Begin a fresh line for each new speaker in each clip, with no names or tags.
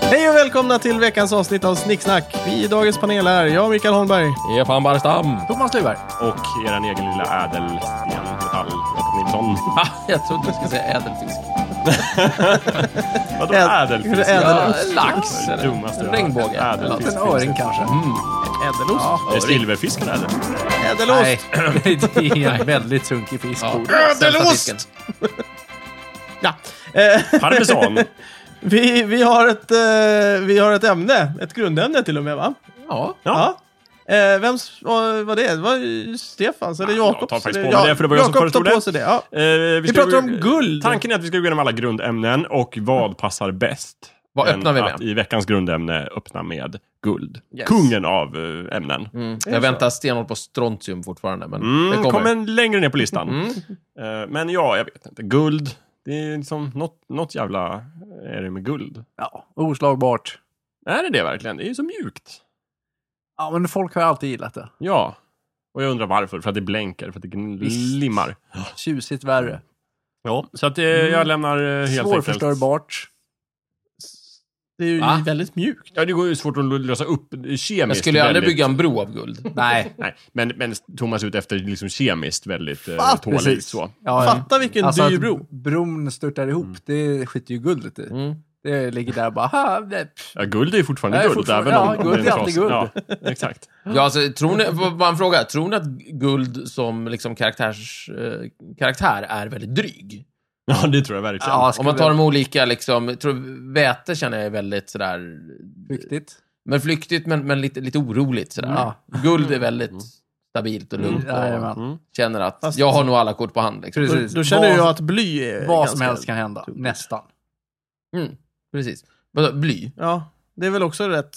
Hej och välkomna till veckans avsnitt av Snicksnack. Vi i dagens panel är jag, Mikael Holmberg.
Stefan Barstam.
Thomas Luber.
Och er egen lilla ädelstenmetall, Jakob Nilsson.
Ah, jag trodde du skulle säga ädelfisk.
Vadå
Äd-
ädelfisk?
Ja,
Ädelost.
lax.
Det dummaste jag har hört.
Regnbåge.
Ädelfisk
Eller något. En
finns
öring
inte.
kanske.
Ädelost.
Är silverfisken ädel?
Ädelost.
Nej, det är en väldigt sunkig fisk.
Ja.
Sämsta
Ädelost!
fisken.
Ja. Eh,
Parmesan?
vi, vi, har ett, eh, vi har ett ämne, ett grundämne till och med va?
Ja.
Ja.
Eh, vems var, var det? Det var ju Stefans eller
jag
Jakobs?
tar faktiskt
eller-
på mig det, för det var jag som
Jakob
föreslog
tar på
det.
sig det. Ja.
Eh, vi
Vi
ska
pratar
gå-
om guld.
Tanken är att vi ska gå igenom alla grundämnen och vad passar bäst?
Vad
än
öppnar vi med?
Att I veckans grundämne öppna med guld.
Yes.
Kungen av eh, ämnen.
Mm. Jag väntar stenhårt på strontium fortfarande, men det
Mm,
kommer. Mm.
kommer. längre ner på listan. Eh, men ja, jag vet inte. Guld. Det är liksom något, något jävla är det med guld.
Ja, oslagbart.
Är det det verkligen? Det är ju så mjukt.
Ja, men folk har ju alltid gillat det.
Ja. Och jag undrar varför. För att det blänker, för att det glimmar.
Tjusigt värre.
Ja, så att eh, jag lämnar eh, helt enkelt...
Svårförstörbart.
Det är ju
Va?
väldigt mjukt.
Ja, det går ju svårt att lösa upp eh, kemiskt.
Jag skulle ju aldrig
väldigt-
bygga en bro av guld.
Nej.
Nej, men, men Thomas är ute efter liksom kemiskt väldigt eh,
Ja,
tåligt.
precis.
Så.
Ja,
Fatta vilken
Alltså
dyr
att
bro.
bron störtar ihop, det skiter ju guldet i.
Mm.
Det ligger där och bara... "Ha, nej, pff."
Ja, guld är ju fortfarande
Nej,
guld.
fortfarande-
även om
ja,
om
guld
det
är alltid
trasigt.
guld.
Ja, exakt.
Ja, alltså, tror ni,
Mm.
bara en fråga. Tror ni att guld som liksom karaktärs, eh, karaktär är väldigt dryg?
Ja, det tror jag verkligen.
Ja,
Om man tar de olika, liksom, tror, väte känner jag är väldigt sådär,
Viktigt.
men flyktigt men, men lite, lite oroligt sådär.
Mm. Ja. Mm.
Guld är väldigt stabilt och lugnt och
Jajamän.
känner att
Fast-
jag har nog alla kort på hand. Liksom.
Då,
Precis.
då känner
Vad-
jag att bly är
Vad
ganska-
som helst kan hända. Nästan.
Mm, precis. Vadå, bly?
Ja, det är väl också rätt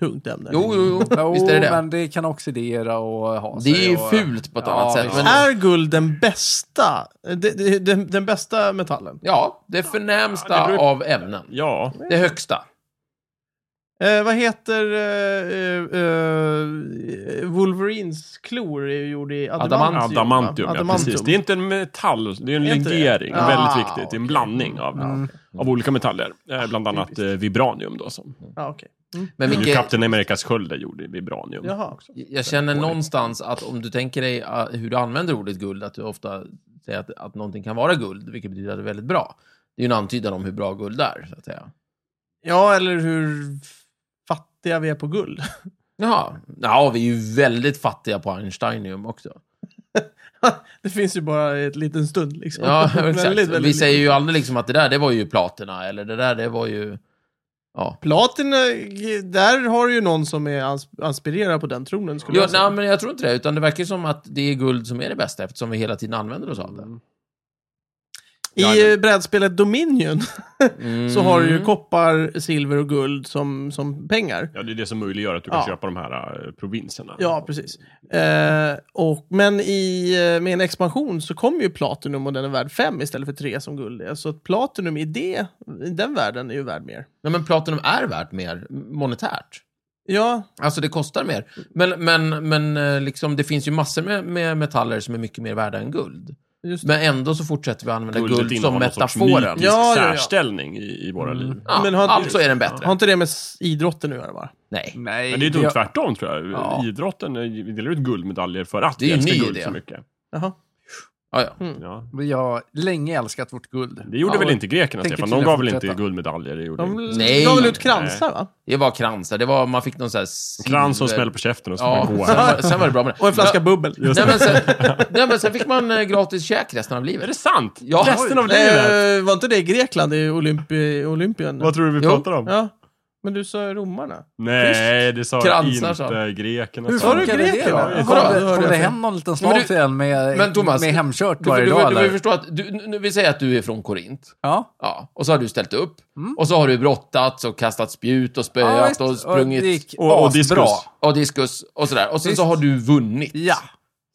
tungt ämne.
Jo, jo, jo. Visst är det det.
Mm. men det kan oxidera och ha
Det är
sig
ju
och,
fult på ett
Ja,
annat sätt.
visst.
Men,
Är guld den bästa? Den, den, den bästa metallen?
ja, det förnämsta
Ja, det beror-
av ämnen.
Ja,
Det högsta.
Eh, vad heter eh, eh, eh, Wolverines klor? Är ju gjord i adamantium.
Adamantium,
adamantium,
va?
ja, precis. Det är inte en metall, det är en
Är inte det?
legering.
Ah,
väldigt viktigt. Det är
okej.
en blandning av,
Mm.
av olika metaller. Eh, bland annat eh, vibranium då. Som,
Ja, okej.
Men
det är ju
Micke,
Kapten Amerikas sköld är gjord i vibranium.
Jaha.
jag känner någonstans att om du tänker dig eh, hur du använder ordet guld, att du ofta säger att, att någonting kan vara guld, vilket betyder att det är väldigt bra. Det är ju en antydan om hur bra guld är, så att säga.
Ja, eller hur fattiga vi är på guld.
Jaha. Ja, vi är ju väldigt fattiga på Einsteinium också.
det finns ju bara en liten stund liksom.
Ja,
Väldigt,
exakt.
väldigt
Vi
liten.
säger ju aldrig liksom att det där, det var ju platina, eller det där, det var ju... Ja.
Platina, eh, där har du ju någon som är ans- aspirerar på den tronen skulle
Jo,
jag säga.
nej, men jag tror inte det, utan det verkar ju som att det är guld som är det bästa, eftersom vi hela tiden använder oss av det. Ja,
I eh, brädspelet Dominion
Mm.
så har du ju koppar, silver och guld som, som pengar.
Ja, det är det som möjliggör att du kan
Ja.
köpa de här eh, provinserna.
Ja, precis. Eh, och, men i, eh, med en expansion så kommer ju Platinum och den är värd 5 istället för 3 som guld är. Så att Platinum i, det, i den världen är ju värd mer.
Nej, men platinum är värt mer monetärt.
Ja,
Alltså det kostar mer. Men, men, men eh, liksom, det finns ju massor med, med metaller som är mycket mer värda än guld.
just det.
Men ändå så fortsätter vi använda
Guldet
guld som
innehåller någon sorts
metaforen.
mytisk
Ja, ja, ja.
särställning i, i våra liv.
Ja,
Men har-
alltså är den bättre.
Har inte det med s- idrotten nu att göra bara?
Nej.
Nej,
Men det är nog
jag-
tvärtom tror jag.
Ja.
Idrotten eh, vi delar ut guldmedaljer för att
Det är
vi
ju
älskar
ny
guld
idé.
så mycket.
Jaha.
Ja, ja.
Ja.
Vi har länge älskat vårt guld.
Det gjorde
Ja,
väl inte grekerna,
tänker
Stefan?
till
De
att
gav väl
fortsätta.
inte guldmedaljer? Det gjorde
De
de...
Nej.
la väl ut kransar va?
Det var kransar. Det var, man fick någon sån här... Silver...
Krans som smäller på käften och så
Ja,
ja.
sen
går
var, sen var det bra med det.
Och en flaska bubbel.
Nej men, sen, nej, men sen fick man eh, gratis käk resten av
Är
livet.
det sant?
Ja.
Resten av
Oj.
livet?
Eh, var inte det i Grekland i Olympi- Olympien?
Vad tror du vi
Jo.
pratar om?
Ja, men du sa romarna.
Nej, det sa
Kransar, sa
inte grekerna.
Hur
sa
du
de.
funkar det
greker
då?
då?
Kom,
Vadå? Hörde
det- kom
jag
det
fel?
hem någon liten
Men
slav
du-
till en med,
Men Thomas,
med hemkört
Du, får-
varje
du,
dag?
får- du, får
eller?
förstå att, du, nu- nu, vi säger att du är från Korint.
ja.
Ja, och så har du ställt upp.
Mm.
Och så har du brottats och kastat spjut och spöat och Eh, sprungit.
det gick
Och- och
asbra.
diskus.
och diskus och sådär. Och sen
Visst.
så har du vunnit.
Ja,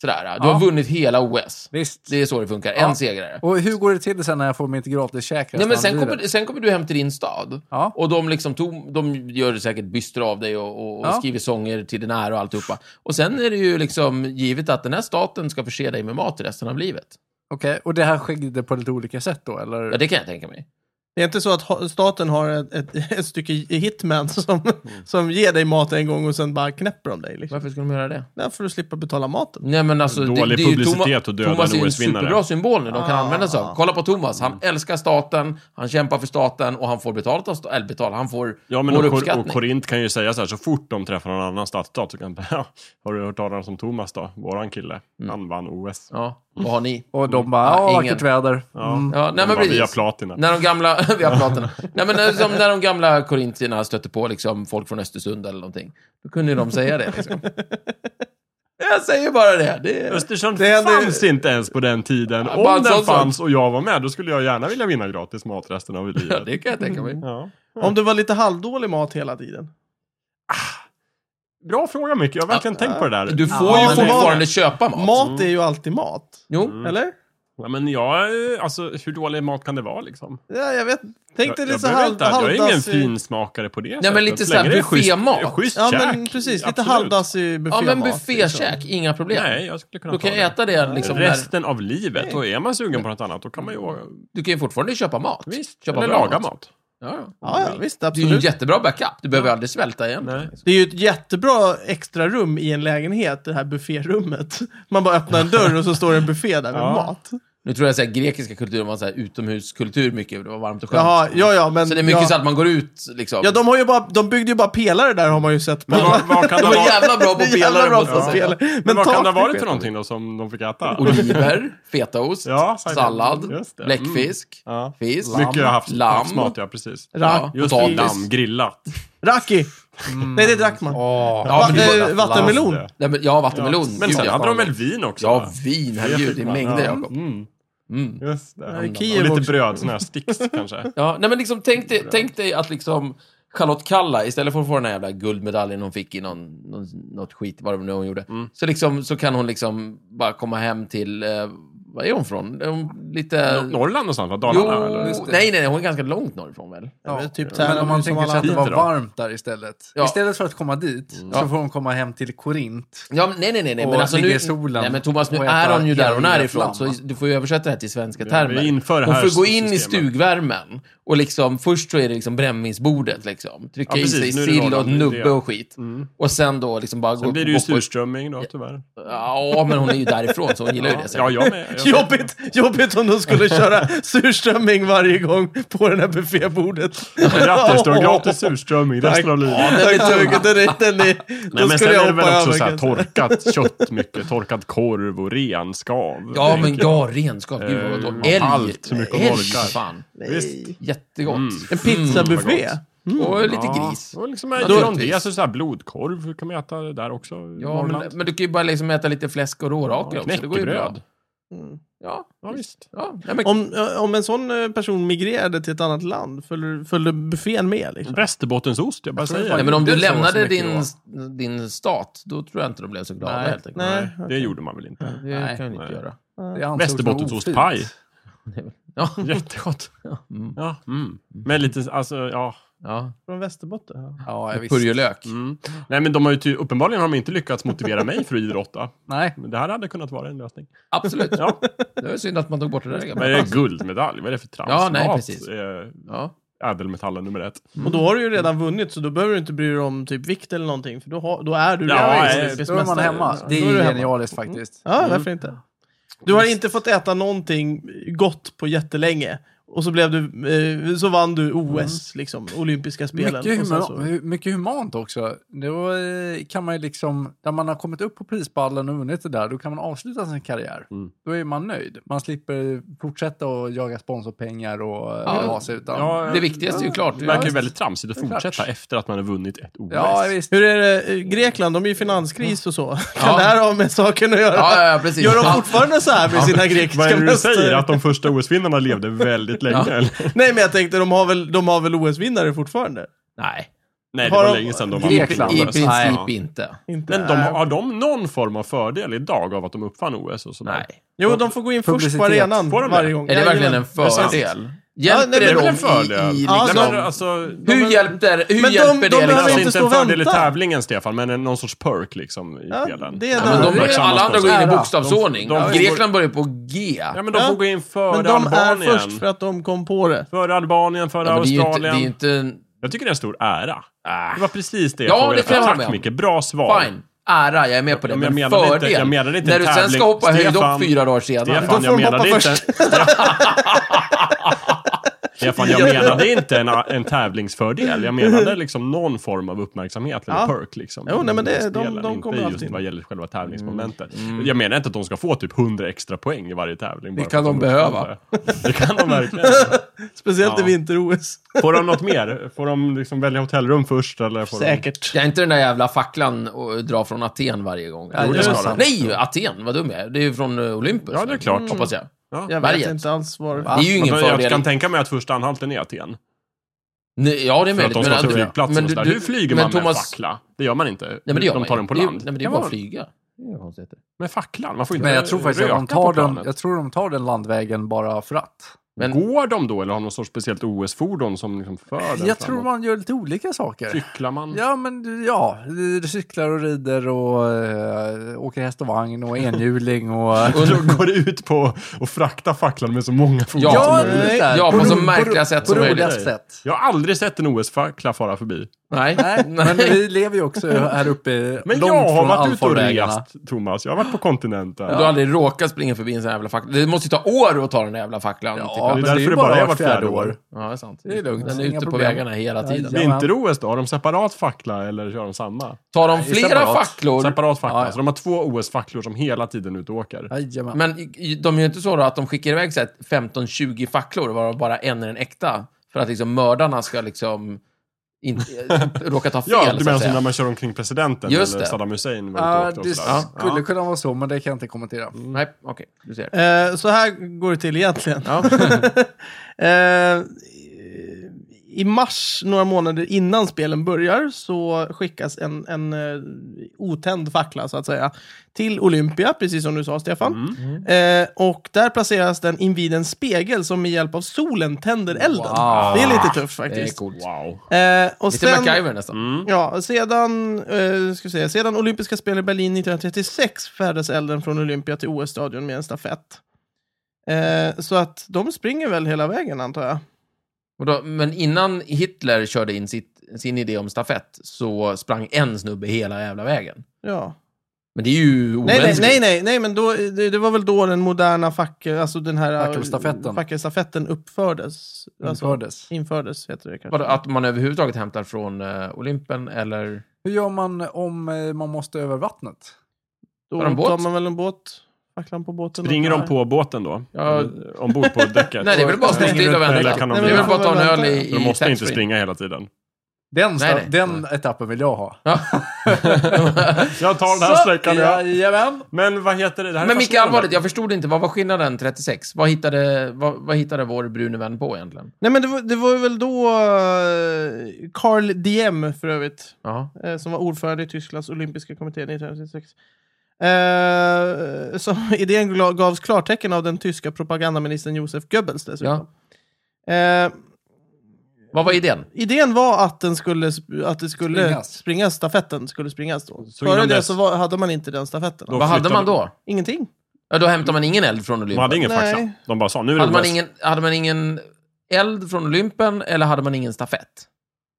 Sådär, ja. du
Ja.
har vunnit hela OS.
visst.
Det är så det funkar. En segrare.
Och hur går det till sen när jag får mitt gratis käk
Nej, men
resten
sen,
av
kommer,
livet?
sen kommer du hem till din stad.
Ja.
Och de, liksom tog, de gör säkert byster av dig och, och, och
Ja.
skriver sånger till din ära och alltihopa. Och sen är det ju liksom givet att den här staten ska förse dig med mat resten av livet.
Okej, och det här skedde på lite olika sätt då, eller?
Ja, det kan jag tänka mig.
Det är inte så att ha- staten har ett, ett, ett stycke hitman som, som ger dig mat en gång och sen bara knäpper de dig. Liksom.
Varför skulle de göra det?
Ja, för att slippa betala maten.
Nej, men alltså, det,
Dålig
det är ju
publicitet
Thomas-
och döda
Thomas är ju en
OS-vinnare.
superbra symbol nu de kan
Ah.
använda sig av. Kolla på Thomas. Han
Mm.
älskar staten, han kämpar för staten och han får betalt av staten. Eller betalt, han får
Ja, men
vår
och, Kor- och
uppskattning.
Korint kan ju säga så här, så fort de träffar någon annan stadsstat så kan de ja, har du hört talas om Thomas då? Våran kille. Han vann OS.
Mm. ja, vad har ni?
Och de bara,
Ja,
ja,
ingen.
vackert väder.
Ja.
Mm.
Ja, nej, men
Bara, Via
precis.
platina.
När de gamla, vi har pratat nu. Nej men eh, som när de gamla korintierna stötte på liksom folk från Östersund eller någonting. Då kunde ju de säga det liksom. Jag säger bara det. det är...
Östersund
Det hade-
fanns inte ens på den tiden.
Ja, bara
Om
en
den
sån
fanns och jag var med, då skulle jag gärna vilja vinna gratis mat resten av
Ja,
livet.
det kan jag tänka mig.
Ja.
Om det var lite halvdålig mat hela tiden.
Bra fråga Micke, jag har verkligen
Ja,
tänkt på det där.
Du får
Ja,
ju
men-
fortfarande köpa mat.
Mat är ju alltid mat.
Jo.
Mm.
Eller?
Ja, men jag, eh, alltså hur dålig mat kan det vara liksom?
Ja, jag vet. Tänk dig
jag,
lite
jag,
så
behöver
halv,
inte, jag är ingen
halvdassig-
finsmakare på det sättet.
men lite
Så länge
så här
det är schysst-
buffémat.
Schysst
Ja,
käk.
men precis. Lite
Absolut.
halvdassig
Ja
buffémat. liksom.
men buffékäk, inga problem.
Nej, jag skulle kunna
Då
ta
kan jag
det.
äta det liksom när,
Resten av livet. Och är man sugen på något annat, då kan man ju
Du kan ju fortfarande köpa mat.
Visst,
köpa
eller
bra
laga
mat.
mat.
Ja, ja.
Ja, ja, visst.
Det är ju en
Absolut.
jättebra backup. Du behöver aldrig svälta igen.
Nej.
Det är ju ett jättebra extra rum i en lägenhet, det här bufférummet. Man bara öppnar en dörr och så står det en buffé där med
Ja.
mat.
Nu tror jag att grekiska kulturen var så här utomhuskultur mycket. Det var varmt och skönt.
Jaha, ja, ja, men...
Så det är mycket
ja.
så att man går ut liksom.
Ja, de, har ju bara, de byggde ju bara pelare där har man ju sett. På.
Men vad, vad kan
De
det
var
vara?
jävla bra på
Det är jävla
pelare
bra
måste
på
jag säga.
pelare. Men,
Men vad kan det
tak-
ha varit för någonting då som de fick äta?
Oliver, fetaost,
Ja, säkert.
sallad,
Just det. Mm.
bläckfisk,
Ja.
fisk,
Mycket jag har haft
lamm,
havsmat, ja precis.
ja,
Rack,
Just det, lamm,
potatis.
grillat.
Raki!
Mm.
Nej, det drack man.
Ja, men det
Va-
var-
eh, vattenmelon.
Just det.
Nej, men- Ja, vattenmelon.
Men
Gud,
sen
ja.
hade de väl vin också?
Ja,
va?
vin. Herregud, det är
Ja,
mängder,
ja.
Jakob.
Mm.
Mm.
Just det.
I
Och
Kiev
lite
också.
bröd, såna här sticks kanske.
Ja, nej men liksom tänk dig, tänk dig att liksom Charlotte Kalla, istället för att få den här jävla guldmedaljen hon fick i någon, någon, något skit, vad det nu hon gjorde, så, liksom, så kan hon liksom bara komma hem till, eh, var är hon från? Är hon lite...
Norrland och sånt, va?
jo,
Dalarna? eller?
nej, nej, nej, hon är ganska långt norrifrån väl?
Ja, men typ
Men om
Tärnaby som
man tänker sig
alla
att det
andra.
var varmt där istället.
Ja. Mm.
Istället för att komma dit
Ja.
så får hon komma hem till Korint.
Ja, men nej, nej, nej, nej, men
Och
alltså
ligga
nu...
i solen
nej, men Thomas, nu
och äta
är hon ju där hon är
hela
ifrån, så
flamma.
du får ju översätta det här till svenska
vi
termer.
inför
hon
här
får gå in i
systemet.
stugvärmen och liksom, först så är det liksom brännvinsbordet liksom. Trycka
Ja,
in
precis,
sig i
nu är det
sill och
Norrland, det är det.
nubbe och skit. Och sen då liksom bara gå
Sen blir det ju
gå på-
surströmming då, tyvärr.
Ja, men hon är ju därifrån, så hon gillar ju det.
Ja,
säkert.
jag med. Jag med.
Jobbigt, jobbigt om de skulle köra surströmming varje gång på det här buffébordet.
Grattis, du har gratis surströmming resten av livet.
Den är tung. Den är, den är,
Nej,
då
men sen
skulle
är
jag
det
hoppa
väl också
över.
så här,
kanske.
torkat kött mycket, torkad korv och ren skav.
Ja, men
tänker
ja,
jag.
renskap. Gud, vad gott.
Eh,
Älg.
allt, så mycket
Älg,
orkar.
fan.
Visst. Mm,
Jättegott.
En pizzabuffé.
Och lite
Ja,
gris.
Och liksom,
Då-
utifrån det, så, så här, blodkorv kan man äta där också.
Ja, men, men du kan ju bara liksom äta lite fläsk och råraker också. Det går ju bra. Mm.
knäckebröd.
Ja,
Ja, visst.
ja. Nej, men,
Om, eh, om en sån eh, person migrerade till ett annat land, följde, följde buffén med? Liksom.
Västerbottensost, jag bara
tror det
säger.
var-
nej, men om du
det är så
lämnade
mycket
din, din stat, då tror jag inte de blev så glada
Nej.
helt enkelt.
Nej.
Nej, det gjorde man väl inte.
Det
Nej.
kan du inte
Nej.
göra.
Det ansågs
Västerbottenostpaj.
vara ofint.
Ja,
Jättegott.
mm.
Ja, mm. Men lite, alltså, ja.
ja.
Från Västerbotten? Ja.
Ja, jag visst.
purjolök.
Mm. Nej, men de har ju ty- uppenbarligen har de inte lyckats motivera mig för att idrotta.
Nej,
Men det här hade kunnat vara en lösning.
Absolut.
Ja.
Det var ju synd att man tog bort det där
Men det
gamla.
är guldmedalj, vad är det för trams?
Ja, nej,
Mat
precis.
är
Ja.
ädelmetallen nummer ett.
Och då har du ju redan vunnit, så då behöver du inte bry dig om typ vikt eller någonting, för då, har, då är du
Ja,
redan
nej,
olympisk
då är man
mästare.
hemma. Det
Då
är
är du
ju
hemma.
genialiskt faktiskt. Mm.
Ja,
Mm.
varför inte? Du har inte fått äta någonting gott på jättelänge. Och så, blev du, eh, så vann du OS,
Mm.
liksom, olympiska spelen.
Mycket,
och sen
human,
så,
hu- mycket humant också. Då eh, kan man ju liksom, när man har kommit upp på prispallen och vunnit det där, då kan man avsluta sin karriär.
Mm.
Då är man nöjd. Man slipper fortsätta och jaga sponsorpengar och
Ja.
ja. hasa utan.
Ja,
Det viktigaste är ju klart.
Det verkar ju
Ja.
väldigt tramsigt att
Det är klart.
fortsätta efter att man har vunnit ett OS.
ja visst.
hur är det? Eh, Grekland, de är ju i
Mm.
finanskris och så. Kan
Ja.
det här ha med saken att göra?
Ja, ja, ja, precis.
Gör de
Ja.
fortfarande så här med sina grekiska
Vad är det du
mästare?
säger? Att de första OS-vinnarna levde väldigt länge?
Ja.
Eller?
Nej, men jag tänkte, de har väl, de har väl OS-vinnare fortfarande?
Nej,
Nej, det
Har
var
de-
länge sedan de
i, i
vann
Grekland.
OS.
princip
alltså. Ja.
inte.
Inte
Men de,
är-
har de någon form av fördel idag av att de uppfann OS och sådär?
Nej.
Jo, de får gå in först på
Publicitet.
arenan
Får de det?
varje gång.
Är det verkligen en
Jajamän.
sant.
fördel?
nej,
Hjälper
men
det
det är
dem
väl
en fördel.
i, i
Ja,
Nej,
liksom...
men alltså, de,
hur
men-
hjälper, hur
men de-
hjälper
de
det
behöver
liksom?
inte
alltså inte
stå
en
och
fördel i
vänta.
tävlingen, Stefan, men en- någon sorts perk liksom i
Ja,
spelen.
det är
Ja,
en
Ja, men
annan
de
sak.
börjar, alla andra går in i bokstavsordning.
De- de-
Grekland börjar på G.
Ja, men de
Ja.
får gå in före
Men de är
Albanien.
först för att de kom på det.
Före Albanien, före
Ja, men det är ju inte... Det
Australien.
är ju inte
Jag tycker det är en stor ära.
Ah.
Det var precis det
Ja,
jag frågade
det kan jag
efter.
hålla med
Tack
om.
Micke, bra svar.
Fine. Ära, jag är med på det.
Ja, men
Men,
jag menar
fördel.
inte- jag menar inte
När du sen
tävling.
ska hoppa höjdhopp
Stefan-
fyra dagar senare.
Då
Stefan,
får
jag
de
menade
hoppa
inte... Stefan, jag menade inte en, en tävlingsfördel. Jag menade liksom någon form av uppmärksamhet eller
Ja.
perk. Liksom,
Jo, nej, men det- de-
I spelen,
de kommer
inte just
alltid in.
vad gäller själva tävlingsmomentet. Jag menar inte att de ska få typ 100 extra poäng i varje tävling. bara
Mm. Det kan
för att
de
är
behöva.
uppförande. Det kan de verkligen.
Speciellt
Ja.
i vinter-OS.
Får de något mer? Får de liksom välja hotellrum först? Eller får
Säkert.
Det är inte den där jävla facklan och dra från Aten varje gång.
det
är
Nej,
sant.
Nej, Aten, vad dum jag är. Det är ju från eh, Olympus.
Ja, det är
väl?
klart.
Hoppas jag.
De... Ja.
Jag vet
Berget.
inte alls
Det är
var
ju
Men
ingen
Jag
fördel.
kan tänka mig att första anhalten är Aten.
Nej, Ja, det är
För
möjligt.
att de ska ha
att-
flygplatsen
men
och
du-
sådär.
du-
Hur flyger
men
man med
Thomas-
fackla? Det gör man inte.
Nej, men det gör
de
man
tar
ju.
den på
Det är ju-
land.
Nej, men det är
Ja,
ju bara
man-
att flyga. Det är inga konstigheter.
Med facklan? Man får inte
Men jag tror faktiskt att
röka
de tar
på
den,
planet.
jag tror de tar den landvägen bara för att.
Men-
Går de då eller har de någon sorts speciellt OS-fordon som liksom för den
Jag
framåt?
tror man gör lite olika saker.
Cyklar man?
Ja, men du- ja, du cyklar och rider och eh, åker häst och vagn och enhjuling och...
Då går det ut på att frakta facklan med så många fordon
Ja,
som
det-
möjligt.
lite där.
Ja,
På
på så
ro- på
märkliga
ro-
sätt
på
som möjligt.
roliga
Nej.
sätt.
Jag har aldrig sett en OS-fackla fara förbi.
Nej.
Nej, men vi lever ju också här uppe
Men
långt
jag har
från
varit ute och
allfarvägarna.
rest, Thomas. Jag har varit på kontinenten.
Du har aldrig råkat springa förbi en sån här jävla fackla. Det måste ju ta år att ta den där jävla facklan.
Ja,
tycker
men
jag.
därför
det är ju bara vart fjärde år.
ja, det är sant.
Det är lugnt.
Den är
Inga
ute på
problem.
vägarna hela tiden.
Ja, ja.
Vinter-OS då? Har de separat fackla eller kör de samma?
Tar de
Nej,
flera
separat.
facklor...
Separat fackla.
Ja, ja.
Så de har två OS-facklor som hela tiden ut och åker.
Jajamän.
Men i- i- de gör inte så då att de skickar iväg så här 15-20 facklor, varav bara en är den äkta. För att liksom mördarna ska liksom inte eh, råka ta fel,
Ja,
så
du menar
att
som när
säga.
man kör omkring presidenten
Just
eller
det.
Saddam Hussein. var
Ja,
ute och åkte
det
och sådär.
skulle kunna vara så, men det kan jag inte kommentera.
Nej, okej. du ser.
Eh, Så här går det till egentligen. Eh, I mars, några månader innan spelen börjar, så skickas en, en eh, otänd fackla så att säga till Olympia, precis som du sa Stefan.
Mm.
Eh, och där placeras den invid en spegel som med hjälp av solen tänder elden.
Wow.
Det är lite tufft
Det är
faktiskt.
coolt.
Wow. Mm.
Eh, och
Lite
sen,
MacGyver nästan.
Ja, sedan, eh, ska vi säga, sedan olympiska spel i Berlin 1936 färdas elden från Olympia till OS-stadion med en stafett. Eh, så att de springer väl hela vägen antar jag.
Och då, men innan Hitler körde in sitt, sin idé om stafett så sprang en snubbe hela jävla vägen.
Ja.
Men det är ju
Nej, nej,
omänskligt.
nej, nej, nej, men då, det, det var väl då den moderna fackel, alltså den här
Fackelstafetten.
fackelstafetten uppfördes. Alltså,
Infördes.
infördes heter det kanske.
Vadå, att man överhuvudtaget hämtar från eh, Olympen eller...
Hur gör man om eh, man måste över vattnet?
då
var det en båt?
tar man väl en båt, facklan på båten.
Springer
och-
de på båten då?
Ja.
Eller Ombord på däcket?
Nej, det är väl bara att stå
Mm. Springer
still
ut
och
eller
vänta.
kan de
Det är väl bara att ta en öl i, i
De måste inte
taxfree.
springa hela tiden.
Den, sta-
Nej, nej.
den etappen vill jag ha.
Ja.
Jag tar den här
Så,
sträckan jag.
Jajamän!
Men vad heter det? det här är
Men Micke,
fascinerande.
allvarligt, jag förstod inte. Vad var skillnaden 36? Vad hittade, vad, vad hittade vår brune vän på egentligen?
Nej, men det var, det var väl då eh, Carl Diem för övrigt.
Ja.
eh, som var ordförande i Tysklands olympiska kommitté 1936. Eh, som idén gla- gavs klartecken av den tyska propagandaministern Josef Goebbels dessutom.
typ.
Eh,
Vad var idén?
idén var att, den skulle, sp- att det skulle
Springas.
springas. stafetten skulle springas då.
Så
Före
innan
det
dess-
så var, hade man inte den stafetten.
Då-
Vad hade man då?
Ingenting.
Ja, då hämtade man ingen eld från
De
Olympen.
hade ingen
Nej.
fackla. De bara sa, nu är det
Hade man
OS.
ingen, hade man ingen eld från Olympen eller hade man ingen stafett?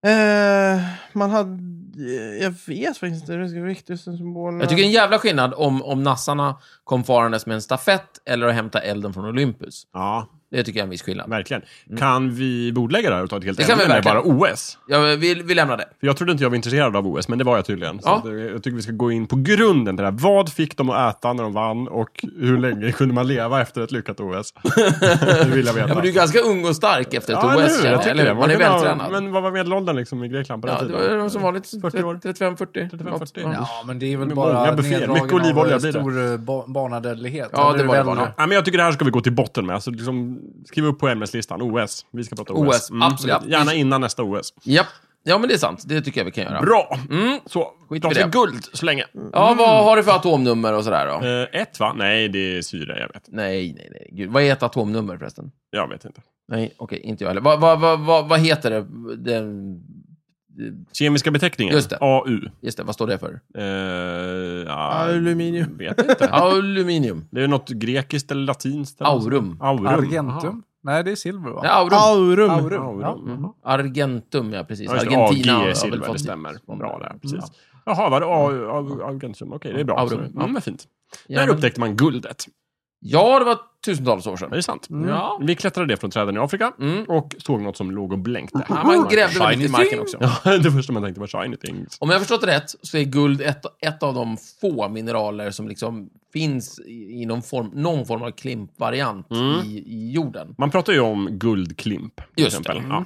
Eh, man hade... eh, Jag vet faktiskt inte. Det är viktigast symbolerna.
Jag tycker det är en jävla skillnad om, om nassarna kom farandes med en stafett eller att hämta elden från Olympus.
Ja,
Det tycker jag är en viss skillnad.
verkligen. Kan vi bordlägga det här och ta ett helt
Mm. Det kan
ämne
vi
när det är bara
verkligen.
OS?
Ja, vi, vi lämnar det.
För jag trodde inte jag var intresserad av OS, men det var jag tydligen. Så
Ja.
det- jag tycker vi ska gå in på grunden till det här. Vad fick de att äta när de vann och hur länge kunde man leva efter ett lyckat OS? det vill jag veta.
Ja, men du är ganska ung och stark efter ett
Ja, eller hur?
OS, känner jag,
tycker
typ eller hur? Man är
kunde ha-
vältränad.
Men vad var medelåldern liksom i Grekland på den
ja, det
tiden?
var de som vanligt
40 år.
35-40.
35, 40.
Ja.
Ja, men det är väl
Med
bara
många bufféer,
neddragen
mycket olivolja
av
blir det.
stor eh, ba- barnadödlighet.
Ja,
Eller
det var det
väl-
bara.
Ja, men jag tycker det här ska vi gå till botten med. Så liksom, skriv upp på ämneslistan, OS. Vi ska prata OS.
OS, mm, absolut.
så Gärna innan nästa OS.
Japp. Ja, men det är sant. Det tycker jag vi kan göra.
Bra! Mm.
Mm.
Så,
Skit
de
i
ska
det.
guld så länge.
Ja, vad har du för atomnummer och sådär då?
Eh, ett va? Nej, det är syre. Jag vet,
Nej, nej, nej. Gud, vad är ett atomnummer förresten?
jag vet inte.
Nej, okej, inte jag heller. Vad vad vad vad vad heter det? Den,
Kemiska beteckningen?
Just det.
AU.
just det, vad står det för?
Eh, ja,
Aluminium.
vet inte.
Aluminium.
Det är något grekiskt eller latinskt. Eller något.
Aurum.
Aurum.
Argentum? Nej, det är silver va?
Nej, aurum.
Aurum.
Aurum.
Aurum.
Ja. Mm.
Argentum, ja precis.
Ja, just det.
Argentina
AG
har
är
väl
silver,
fått mm.
det
nytt
stämmer.
sponsor.
Bra där, precis. Jaha, var det
Mm.
au- au- Argentum? Okej, det är bra.
Aurum.
Mm, vad fint.
Ja,
Där
men-
upptäckte man guldet.
Ja, det var tusentals år
Är
sedan.
det sant?
Mm. Ja.
Vi klättrade det från träden i Afrika
Mm.
och såg något som låg och blänkte.
Ja, man grävde väl lite i
Shiny
marken
thing.
också.
Ja, det första man tänkte var shiny things.
Om jag har förstått det rätt så är guld ett, ett av de få mineraler som liksom finns i, i någon, form, någon form av klimpvariant
Mm.
i, i jorden.
Man pratar ju om guldklimp. Till
Just det.
exempel.
Mm.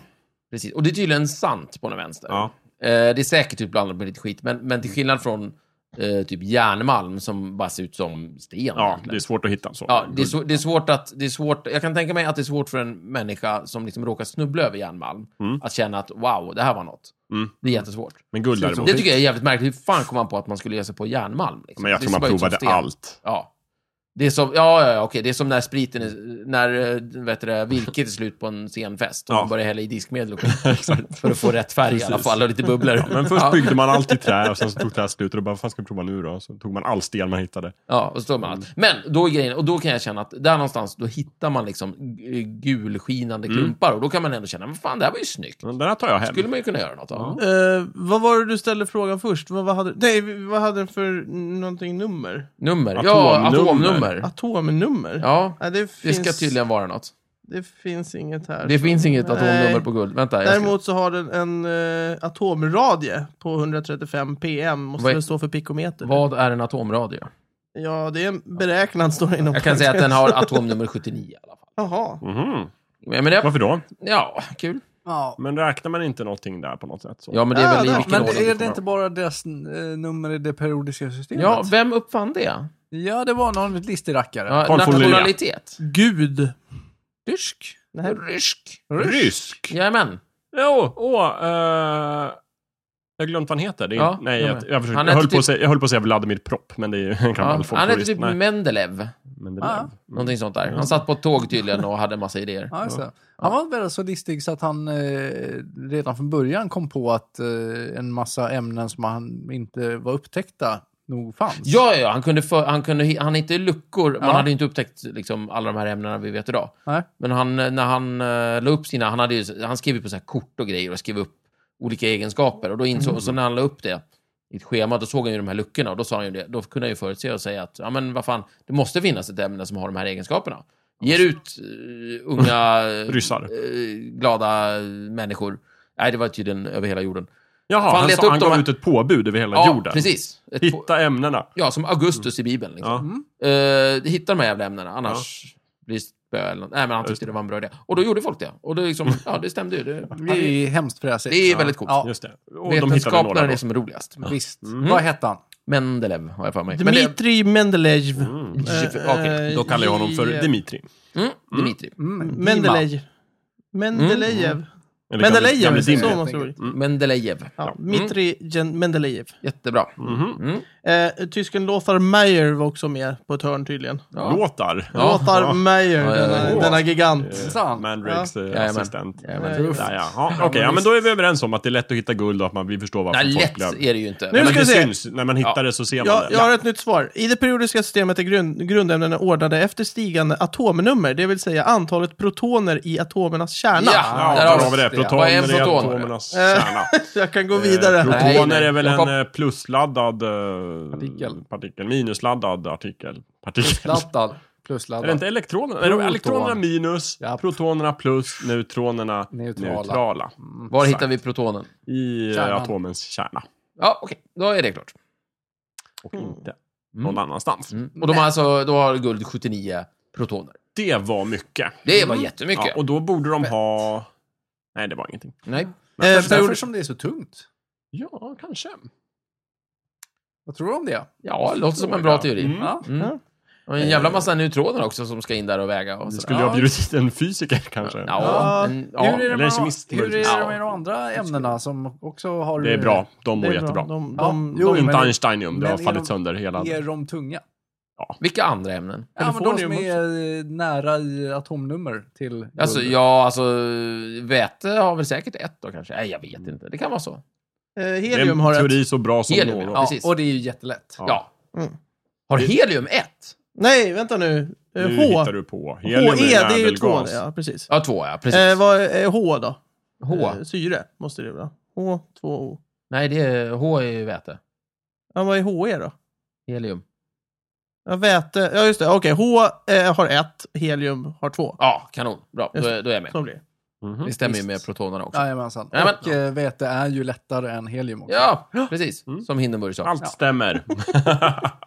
Precis. Och det är tydligen sant på någon vänster.
Ja.
Eh, det är säkert typ blandat med lite skit, men, men till skillnad från eh, typ järnmalm som bara ser ut som sten.
Ja,
egentligen.
det är svårt att hitta så.
Ja, det, är så, det är svårt att... Det är svårt, jag kan tänka mig att det är svårt för en människa som liksom råkar snubbla över järnmalm
Mm.
att känna att wow, det här var något.
Mm.
Det är jättesvårt.
Men guld
Det är så-
däremot.
Det tycker jag är jävligt märkligt. Hur fan kom man på att man skulle ge sig på järnmalm? liksom?
Men jag
Det
tror
ser
man
bara ut som
provade
sten.
allt.
Ja. Det är som, ja, ja, ja, okej. Det är som när spriten är, när eh, vet du, det, virket är slut på en scenfest och
Ja.
man börjar hälla i diskmedel och skit. För att få rätt färg i alla
Precis.
fall och lite bubblor.
Men först
ja,
byggde man allt i trä och sen så tog trä slut och då bara, vad fan ska vi prova nu då? Så tog man all sten man hittade.
ja, och så tar man allt.
Mm.
Men då är grejen, och då kan jag känna att där någonstans, då hittar man liksom g- gulskinande
Mm.
klumpar och då kan man ändå känna, men fan, det här var ju snyggt.
Men Den här tar jag hem.
Skulle man ju kunna göra något av.
Eh, vad var det du ställde frågan först? Vad, vad hade Nej, vad hade den för någonting nummer?
Nummer. Ja,
Atomnummer.
atomnummer.
Atomnummer?
Ja,
Nej, det,
det
finns,
ska tydligen vara något.
det finns inget här.
Det finns inget
Nej.
atomnummer på guld. Vänta, jag ska-
Däremot så har den en eh, atomradie på 135 PM, måste
Vad-
väl stå för pikometer.
Vad är en atomradio?
Ja, det är en beräknad, står det inom
Jag kan Mm. säga att den har atomnummer 79 i alla fall.
Jaha.
Mhm.
Men, men det,
Varför då?
ja, kul.
Ja.
Men räknar man inte någonting där på något sätt? Så.
Ja, men det är
Ja,
väl i
där.
vilken
Men
ordning
är
du
det
får
inte bara deras eh, nummer i det periodiska systemet?
Ja, vem uppfann det?
ja det var någon listig rackare.
Ja,
Carl von Linné.
nationalitet?
Gud.
Rysk.
Nej.
Rysk.
Rysk?
Jajamän.
Jo, åh, eh, jag har glömt vad han heter. Det är,
Ja,
nej,
jag
jag,
med.
jag, försökte,
Han
jag,
heter
höll på
typ-
att säga, jag höll på att säga Vladimir Propp, men det är ju en gammal
Ja, han hette
folkjurist.
typ
Nej,
Mendeleev.
men det
Ah.
är
Någonting sånt där. Han satt på ett tåg tydligen och hade en massa idéer.
Ja, just det. Han var väl så listig så att han eh, redan från början kom på att eh, en massa ämnen som han inte var upptäckta nog fanns.
Ja, ja, ja. Han kunde, för, han kunde hi- han hittade luckor. Man
Ja.
hade ju inte upptäckt liksom, alla de här ämnena vi vet idag.
Nej.
Men han, eh, när han uh, la upp sina, han, hade ju, han skrev ju på så här kort och grejer och skrev upp olika egenskaper. Och då insåg,
Mm.
och så när han la upp det i ett schema, då såg han ju de här luckorna. Och då sa han ju det, då kunde han ju förutse och säga att, ja men vad fan, det måste finnas ett ämne som har de här egenskaperna. Ger ut eh, unga, eh,
Ryssar.
eh, glada människor. Nej, det var tydligen över hela jorden.
Jaha,
Fan,
han,
leta
sa,
upp
han
de
gav
här-
ut ett påbud över hela
Ja,
jorden.
precis. Ett po-
Hitta ämnena.
Ja, som Augustus i Bibeln. Liksom.
Ja.
Eh, hitta de här jävla ämnena, annars blir det spö eller något. Nej, men han
Just Mm.
tyckte det var en bra idé. Och då gjorde folk det. Och det, liksom, ja, det stämde ju. Det,
Det är hemskt fräsigt.
det är väldigt coolt.
Ja,
Just det. Och de hittade
Vetenskap
några
när
då.
det är som är roligast.
visst.
Mm.
Vad hette han?
Mendelev har jag för mig. Men det-
Dmitrij Mendelejev.
Mm.
Eh,
Okej,
Då kallar jag honom för
eh,
Dimitri.
Mm, Dimitri.
Mm. Dima.
Mendelejev.
Mm.
Mendelejev.
Eller gamle- gamle
Mendelejev,
Dimitri. Mm,
så
helt
man tror.
enkelt.
Mendelejev.
Ja, Dmitrij Gen- Mendelejev.
Jättebra.
Mhm.
Mm.
Eh, tysken Lothar Meyer var också med på ett hörn tydligen.
Ja.
Låtar.
Ja.
Lothar Meyer,
Ja, ja, ja.
denna,
Åh.
denna gigant.
Sant.
Mandrakes eh,
Jajamän.
assistent.
Ja, men,
Eh,
Där, ja. Ja, Okej, ja, men då är vi överens om att det är lätt att hitta guld och att man, vi förstår varför
nej, lätt
folk gör
är det ju inte.
Nu
Men-
ska
Men det
vi se.
syns. När man hittar
Ja.
det så ser man
Jag,
det.
jag har ett nytt svar. I det periodiska systemet är grund, grundämnena ordnade efter stigande atomnummer, det vill säga antalet protoner i atomernas kärna.
Ja.
Ja,
Där
där
har
har vi
vi
det.
det. Vad
Protoner
är en
är
proton?
atomernas
Eh,
kärna.
Jag kan gå
Eh,
vidare här.
Nej,
Protoner
nej.
är väl
Jakob.
en eh, plusladdad eh,
Partikel.
partikel, minusladdad artikel. Partikel.
Laddad plus
Är det
laddad.
inte elektronerna? Är det
Proton.
elektronerna minus,
Ja.
protonerna plus, neutronerna neutrala.
Neutrala.
Var hittar vi protonen?
I eh,
Kärnan.
atomens kärna.
Ja, okej. Då är det klart.
Och inte någon annanstans.
Mm. Och de har alltså, då har guld 79 protoner.
Det var mycket. Mm.
Det var jättemycket.
Ja, och då borde de ha... Nej, det var ingenting.
Nej.
Eh,
Därför
period-
som det är så tungt.
Ja, kanske.
Vad tror du om det?
Ja, det låter som en bra teori.
Mm.
Ja.
Mm. Och en jävla massa neutroner också som ska in där och väga. Och
Vi
sådär.
skulle ju ha bjudit hit en fysiker kanske.
Ja,
Ja.
en,
Hur är
ja.
det,
Eller
med,
kemist,
hur är det
möjligtvis.
med de andra ämnena som också har...
Det är bra. De
Det
mår
är bra.
jättebra.
De,
Ja,
de,
jo,
Inte
men-
Einsteinium, det har
men
fallit
genom-
sönder hela...
Är de tunga?
Ja.
Vilka andra ämnen?
Ja, men de som
Plutonium
är eh, nära i atomnummer till guld.
Alltså, ja, alltså väte har väl säkert ett då kanske. Nej, jag vet inte. Det kan vara så.
Eh,
Det är
helium
en
har ett.
teori så bra som
Helium,
någon.
ja.
Ja,
precis.
och det är ju jättelätt.
Ja.
Ja.
Mm.
Har helium ett?
Nej, vänta nu. Eh,
Nu
H.
hittar du på.
HE,
Helium
det är ju två.
ädelgas.
Ja, precis.
Ja, två ja. Precis.
Eh, vad är H då?
H?
Eh, syre måste det vara. H, 2 O.
Nej, det är, H är ju väte.
Ja, vad är HE då?
Helium.
Ja, väte. Ja, just det. Okej, H eh, har ett, helium har två.
Ja, kanon. Bra, då
Just
är, då är jag med.
Så blir det. Mm.
Mhm.
Det stämmer ju med protonerna också.
Jajamensan.
Jajamän.
Och eh, väte är ju lättare än helium också.
Ja, precis. Som Hindenburg sa.
Allt stämmer.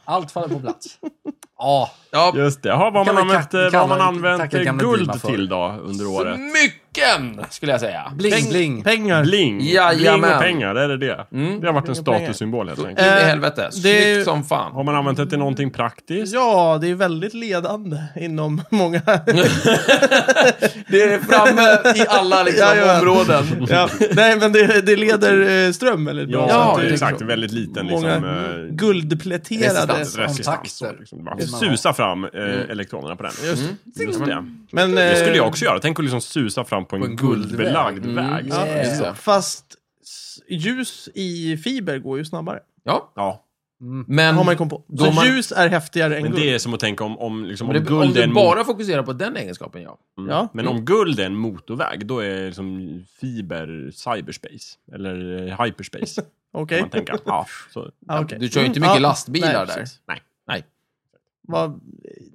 Allt faller på plats. ja,
Ja,
Just det. Jaha, vad
Kan
man
man
använt,
tacka-
eh, vad man
kan-
använt
tacka
eh,
gamla Dima
guld
för.
till då under året?
smycken skulle jag säga.
bling bling.
Pengar.
Bling.
Jajamän.
Bling och pengar, är det det?
Mm.
Det har varit en
Bling och pengar.
statussymbol helt
In i
enkelt.
Eh,
helvete.
det är
Snyggt
ju-
som fan.
Har man använt det till någonting praktiskt?
Ja, det är väldigt ledande inom många...
Det är framme i alla liksom,
Jajamän.
områden.
ja. Nej, men det, det leder eh, ström typ väldigt bra.
Ja,
Så
Ja,
att
det
det
är
är
exakt.
så.
Väldigt liten
Många
liksom, eh,
guldpläterade.
Resistans.
resistans.
Kontakter.
och Liksom. Bara
Vill man
Susa fram eh, elektronerna på den. Just, det.
Men,
Det skulle
eh,
jag också göra. Tänk att liksom susa fram på en,
På en
guldbelagd
guldväg.
väg.
Mm.
Ja.
Ja,
Yeah.
just det. Fast s- ljus i fiber går ju snabbare.
Ja,
Ja.
men
Har man ju kom på.
då
Så
man-
ljus är häftigare än
Men
guld.
det är som att tänka om, om, liksom, om,
om, det, om
guld är
du
en
bara fokuserar på den egenskapen, ja.
Mm.
Ja.
Men om guld är en motorväg, då är liksom fiber cyberspace. Eller eh, hyperspace, kan
Okej.
man tänka. Ja, så,
Ja, okej.
Du kör ju inte
Mm.
mycket
Ja,
lastbilar
nej,
där.
precis.
Nej. Nej.
Vad-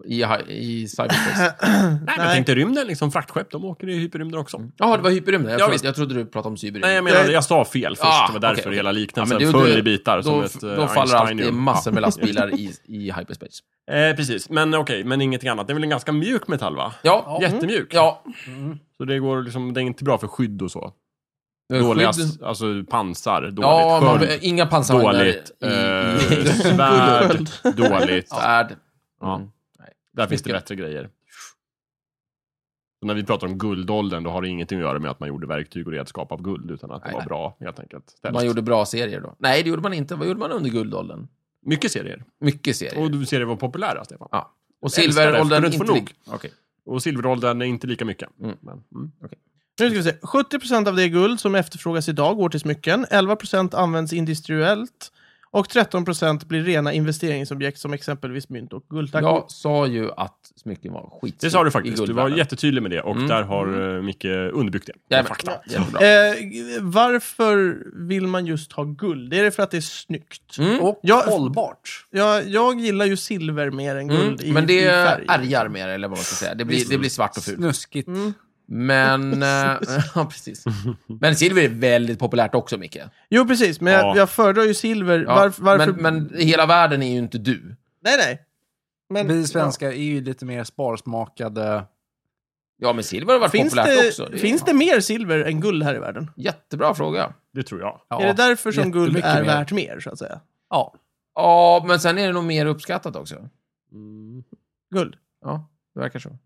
I, hi- i cyberspace.
nej, men
Nej.
jag tänkte rymden, liksom fraktskepp, de åker i hyperrymden också.
Jaha, det var hyperrymden. Jag,
Ja,
trodde-
visst.
jag trodde du pratade om cyberrymden.
Nej, jag menar,
Det-
jag sa fel först.
Ah,
det var därför
okej, okej.
hela
Ja,
liknelsen
men det-
föll
det-
i bitar.
då,
som
f-
ett eh,
då faller alltid
Einsteinium.
massor med lastbilar i, i hyperspace.
Eh, precis, men okej, men ingenting annat. Det är väl en ganska mjuk metall, va?
Ja, ja.
Jättemjuk.
ja.
Så det, går liksom, det är inte bra för skydd och så. Dåliga,
Dåliga
s- alltså pansar, dåligt
Ja, man,
sköld,
inga pansarvagnar
dåligt,
i,
eh,
i, i
svärd, dåligt.
svärd.
Ja.
Mm.
Där finns det
Mycket.
bättre grejer. Så när vi pratar om guldåldern, då har det ingenting att göra med att man gjorde verktyg och redskap av guld, utan att det
Nej,
var
nej.
bra, helt enkelt. Ställt.
Man gjorde bra serier då. Nej, det gjorde man inte. Vad gjorde man under guldåldern?
Mycket serier.
Mycket serier.
Och
Och,
du serier var populära, Stefan.
ja. och
Jag älskar det, för
silveråldern
du inte
inte...
får
Nog. Okej.
Och silveråldern är inte lika mycket.
Mm.
Men, mm.
Nu ska vi se. 70 av det guld som efterfrågas idag går till smycken. 11 används industriellt. Och 13 blir rena investeringsobjekt som exempelvis mynt och guldtackor.
Jag sa ju att smycken var skit.
Det sa du faktiskt. Du var jättetydlig med det och
Mm.
där har uh, Micke underbyggt det.
Jajamän.
Fakta.
Jättebra.
Eh, g- varför vill man just ha guld? Är det för att det är snyggt?
Eh,
Mm.
Och
Ja.
hållbart.
Jag, jag gillar ju silver mer än
Mm.
guld i,
Men det
i färg.
ärgar mer, eller vad man ska säga. Det blir, det blir svart och fult.
Snuskigt.
Men... eh, ja, precis. Men silver är väldigt populärt också, Micke.
Jo, precis. Men
Ja.
jag, jag föredrar ju silver.
Ja.
Varf, varför?
Men, men hela världen är ju inte du.
Nej, nej. Men,
Vi svenskar är ju lite mer sparsmakade.
Ja, men silver har varit
Finns,
populärt
det,
också. är-
finns det mer silver än guld här i världen?
Jättebra fråga.
Det tror jag.
Ja,
är det därför som guld
jättemycket
är
mer.
värt mer, så att säga?
Ja.
Ja, men sen är det nog mer uppskattat också.
Mm.
Guld.
Ja, det verkar så.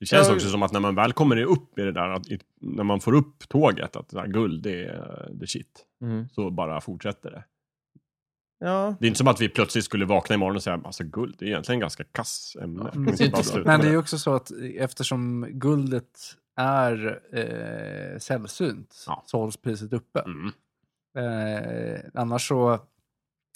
Det känns
Ja.
också som att när man väl kommer upp i det där, att, i- när man får upp tåget, att det där guld, det är the shit.
Mm.
Så bara fortsätter det.
Ja.
Det är inte som att vi plötsligt skulle vakna imorgon och säga, alltså guld, det är egentligen ganska kass ämne.
Mm.
Vi ska bara sluta
Men
med
det är ju också så att eftersom guldet är eh, sällsynt
Ja.
så hålls priset uppe.
Mm.
Eh, annars så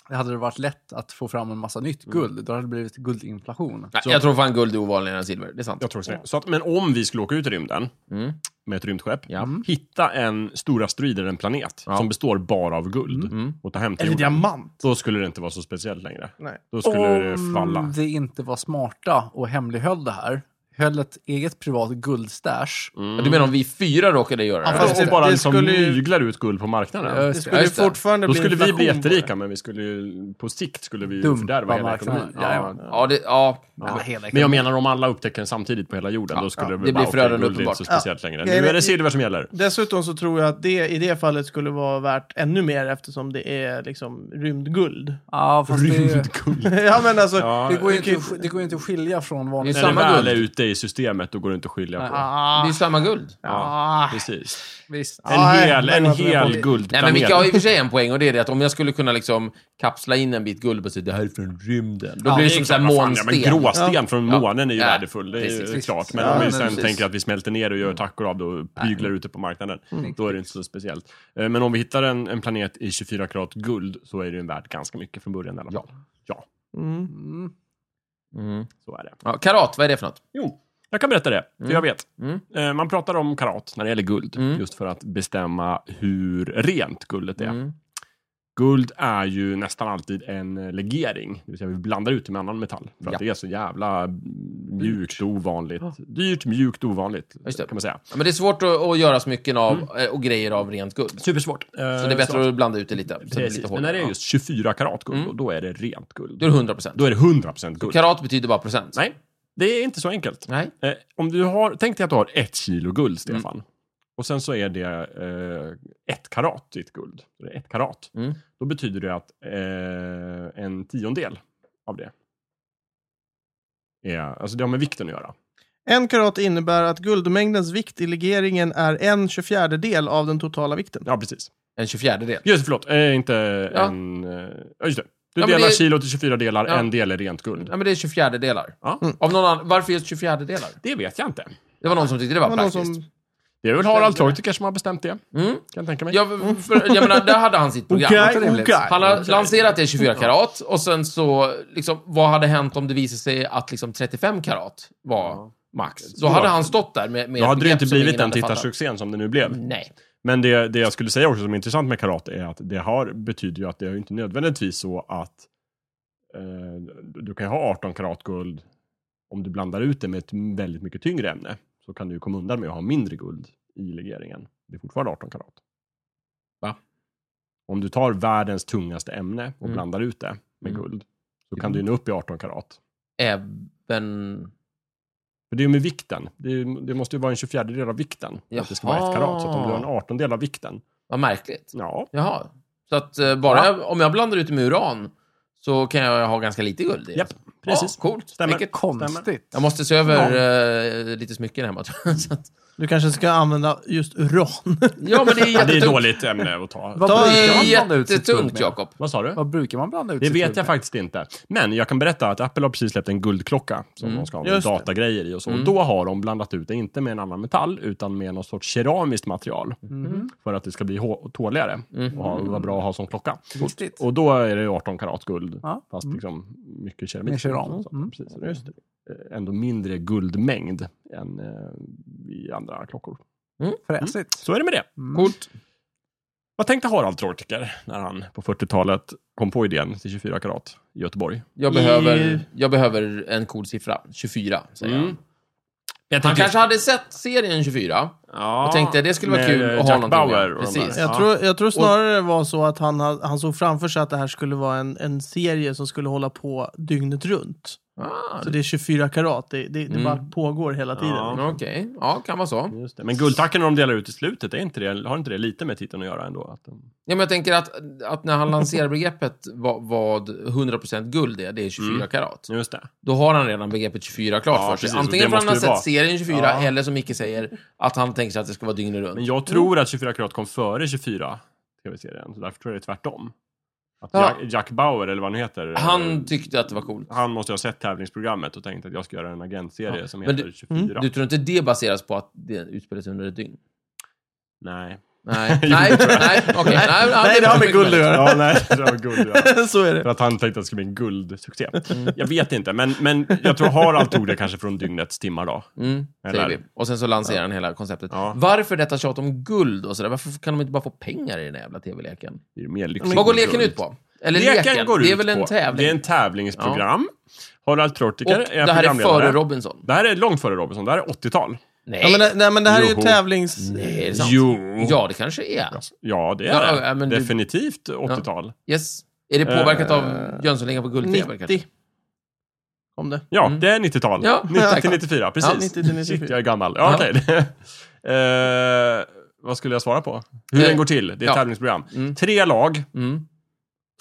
hade det varit lätt att få fram en massa nytt
Mm.
guld. Då hade det blivit guldinflation.
Nej, jag tror fan guld är ovanligare än silver. Det är sant.
Jag tror också det. Så att, men om vi skulle åka ut i rymden
Mm.
med ett rymdskepp,
Ja.
Mm.
hitta en stor asteroid eller en planet
Ja.
som består bara av guld
Mm.
och ta hem till
Eller
jorden.
diamant.
Då skulle det inte vara så speciellt längre.
Nej.
Då skulle det falla.
Om vi inte var smarta och hemlighöll det här, höll ett eget privat guldstash.
Du menar om vi fyra råkade göra det?
Ja,
här?
fast
Fast
det-
och bara
det
liksom
skulle ju-
myglar ut guld på marknaden.
Ja,
Det
just
skulle ju
just det.
fortfarande
Då
bli
skulle vi
inflation
bli
på det.
jätterika, men vi skulle ju, på sikt skulle vi ju
Dumpa
fördärva hela
marknaden.
ekonomin.
Jajamän.
Ja, det, ja.
Ja, hela
Men jag menar om alla upptäcker den samtidigt på hela jorden, då skulle
ja.
det,
Det
bli
blir
bara, okej,
förödande
guld är inte så
uppenbart.
speciellt längre.
Ja.
Nu är det silver som gäller.
Dessutom så tror jag att det i det fallet skulle vara värt ännu mer eftersom det är liksom rymdguld.
Ja, fast det,
Rymdguld.
ja men alltså,
Ja,
det, går ju inte, att- det går ju inte att skilja från
Det
vanligt.
är
när det
samma
väl
guld.
är ute det i systemet och går det inte att skilja på.
Det är
Ah,
ju samma guld.
Ja, precis.
Visst.
En
Nej,
hel,
men
en
alltså, jag-
Nej,
hel
men Micke har i
guldplanet.
och för sig en poäng och det är det att om jag skulle kunna liksom kapsla in en bit guld och säga det här är från rymden. Då blir det som
klart,
såhär
vad fan, ja,
månsten.
men gråsten från
Ja.
månen är ju
Ja.
värdefull, det är ju
Precis. Mm.
klart. Men
Ja,
om vi
men
sen
precis.
tänker att vi smälter ner och gör tackor av det och pyglar ut det på marknaden, då är det inte så speciellt. Eh, Men om vi hittar en, en planet i 24 karat guld så är det ju värd ganska mycket från början i alla fall. Ja. ja,
mm.
Mm.
Mm.
så är det.
Ja, karat, vad är det för något?
Jo, jag kan berätta det, för jag vet.
Mm.
Eh, Man pratar om karat när det gäller guld,
Mm.
just för att bestämma hur rent guldet är.
Mm.
Guld är ju nästan alltid en eh, legering, det vill säga vi blandar ut det med annan metall. För att
Ja.
det är så jävla mm, mjukt och ovanligt. Dyrt, mjukt, ovanligt
Just det.
kan man säga.
Ja, men det är svårt att, att göra smycken av eh, och grejer av rent guld. Så
Supersvårt. Mm. Eh, Så det
det är bättre att blanda ut det lite. Så det blir
Precis,
lite
men när det är
hårdare.
just 24 karat guld, då- då är det rent
Ja.
guld.
Då är det 100 procent.
Då är det 100% guld.
Karat betyder bara procent.
Nej, det är inte så enkelt.
Nej.
Eh, om du har, tänk dig att du har ett kilo
Mm.
guld, Stefan. Och sen så är det eh, ett karat ditt guld. Det är ett karat.
Mm.
Då betyder det att eh, en tiondel av det är, alltså det har med vikten att göra.
En karat innebär att guldmängdens vikt i legeringen är en 24 del av den totala vikten.
Ja, precis.
En 24 del.
Just det, förlåt. Eh, inte
Ja.
en... Eh, ja, just det. Du
Ja, men
delar
det-
kilo till 24 delar,
Ja.
en del är rent guld.
Ja, Mm. men det är 24 delar.
Ja.
Av någon annan, varför just 24 delar?
Det vet jag inte.
Det var någon som tyckte det var,
Det var någon
praktiskt.
som...
Det är väl Harald Treutiger som har bestämt det,
Mm.
kan jag tänka mig.
Ja, för, jag menar, där hade han sitt program.
Okej,
Vad trevligt.
okej.
Han har lanserat det 24 karat och sen så, liksom, vad hade hänt om det visade sig att liksom 35 karat var max? Så
Då-
hade han stått där med, med
Då
ett
hade det
begrepp
inte
som
blivit
ingen
den
hade fattat.
tittarsuccén som det nu blev.
Nej.
Men det, det jag skulle säga också som är intressant med karate är att det har, betyder ju att det är ju inte nödvändigtvis så att eh, du kan ju ha 18 karat guld om du blandar ut det med ett väldigt mycket tyngre ämne så kan du ju komma undan med att ha mindre guld i legeringen. Det är fortfarande 18 karat.
Va?
Om du tar världens tungaste ämne och
Mm.
blandar ut det med
Mm.
guld så kan du ju nå upp i 18 karat.
Även...
För det är ju med vikten. Det, är, ju- det måste ju vara en 24 del av vikten. för Att det ska vara ett karat. Så att om du har en 18 del av vikten,
Vad märkligt.
ja,
Jaha. Så att eh, bara jag, om jag blandar ut det med uran så kan jag ha ganska lite guld i.
Japp, precis.
Ja, coolt.
Stämmer.
Vilket-
Konstigt.
Jag måste se över eh, lite smycken hemma. tror jag. Så att,
Du kanske ska använda just uran.
ja, men det är
Ja, det är
jättetungt.
dåligt ämne att ta.
Vad
Ta-
Det
brukar
är
man blanda ut sitt guld
jättetungt,
med?
Jakob.
Vad sa du?
Vad brukar man blanda ut
Det
sitt
vet
guld
jag
med?
faktiskt inte. Men jag kan berätta att Apple har precis släppt en guldklocka som
Mm.
de ska ha med
Just det.
datagrejer i och så.
Mm.
Och då har de blandat ut det, inte med en annan metall, utan med någon sorts keramiskt material.
Mhm.
För att det ska bli hå- tåligare och ha, vara bra att ha som klocka.
Viktigt.
Och då är det 18 karat guld,
Ja.
fast
Mm.
liksom mycket keramik.
Med keram.
Så,
Mm.
Precis.
Just det.
Eh, Ändå mindre guldmängd än eh, i andra klockor.
Fräsigt.
Så är det med det.
Mm.
Coolt.
Vad tänkte Harald Treutiger när han på 40-talet kom på idén till 24 karat i Göteborg?
Jag
I-
behöver, jag behöver en cool siffra. 24, säger
Mm.
han. Han kanske hade sett serien 24.
Ja,
och tänkte att det skulle vara
med
kul att ha
Jack
någonting med.
Bauer och de
Precis.
där.
Jag, tror, jag tror snarare det var så att han, ha- han såg framför sig att det här skulle vara en, en serie som skulle hålla på dygnet runt.
Ah,
Så det är 24 karat, det, det, det
Mm.
bara pågår hela tiden.
Ja.
Okej, ja, kan vara så.
Just det. Men guldtacken de delar ut i slutet, är inte det, har inte det lite med titeln att göra ändå? Att de...
Ja, men jag tänker att, att när han lanserar begreppet vad, vad 100% guld är, det är 24
Mm.
karat.
Just det.
Då har han redan begreppet 24 klart
Ja,
för sig.
precis, och
Antingen
det
för att han har
måste
sett
det vara.
serien 24,
Ja.
eller som Micke säger, att han tänker sig att det ska vara dygnet runt.
Men jag tror
Mm.
att 24 karat kom före 24, tv-serien. Så därför tror jag det är tvärtom. Att
Ja.
Jack, Jack Bauer, eller vad han heter, eh,
Han tyckte att det var coolt.
han måste ha sett tävlingsprogrammet och tänkt att jag ska göra en agentserie
Ja,
som
men
heter
du- Mm,
24.
Du tror inte det baseras på att det utspelar sig under ett dygn?
Nej.
Nej, nej, nej, okej. Nej, ja,
Nej, det har med
mycket
guld att
möjligt.
göra.
Ja, nej, det var guld. Ja.
så är det.
För att han tänkte att det skulle bli en guldsuccé.
Mm.
Jag vet inte, men, men jag tror Harald tog det kanske från dygnets timmar då.
Mm, säger
Eller?
vi. Och sen så lanserar han hela konceptet.
Ja.
Varför detta tjat om guld och sådär? Varför kan de inte bara få pengar i den här jävla tv-leken?
Det är ju mer lyxigt.
Vad går
än
leken
guld.
ut på? Eller leken,
leken, går ut
det är väl en
på,
tävling?
Det är en tävlingsprogram. Harald Treutiger
och
är
det här är
programledare.
före Robinson.
Det här är långt före Robinson, det här är 80-tal.
Nej.
Ja, men, det- nej, men det här är ju
Joho.
tävlings...
Nej, är det sant?
Jo.
Ja, det kanske är.
Ja, det är
Ja,
det.
ja, men du-
Definitivt 80-tal.
Yes. Är det påverkat
Eh,
av Jönssonligan på guldfeber kanske?
90. Om det.
Ja,
Mm.
det är 90-tal.
Ja,
90
tack.
till 94, precis.
Ja,
90 till 94.
Shit, jag är gammal. Ja,
Ja.
okej. Eh, vad skulle jag svara på? Hur
Eh,
den går till? Det är ett
ja.
tävlingsprogram.
Mm.
Tre lag,
Mm.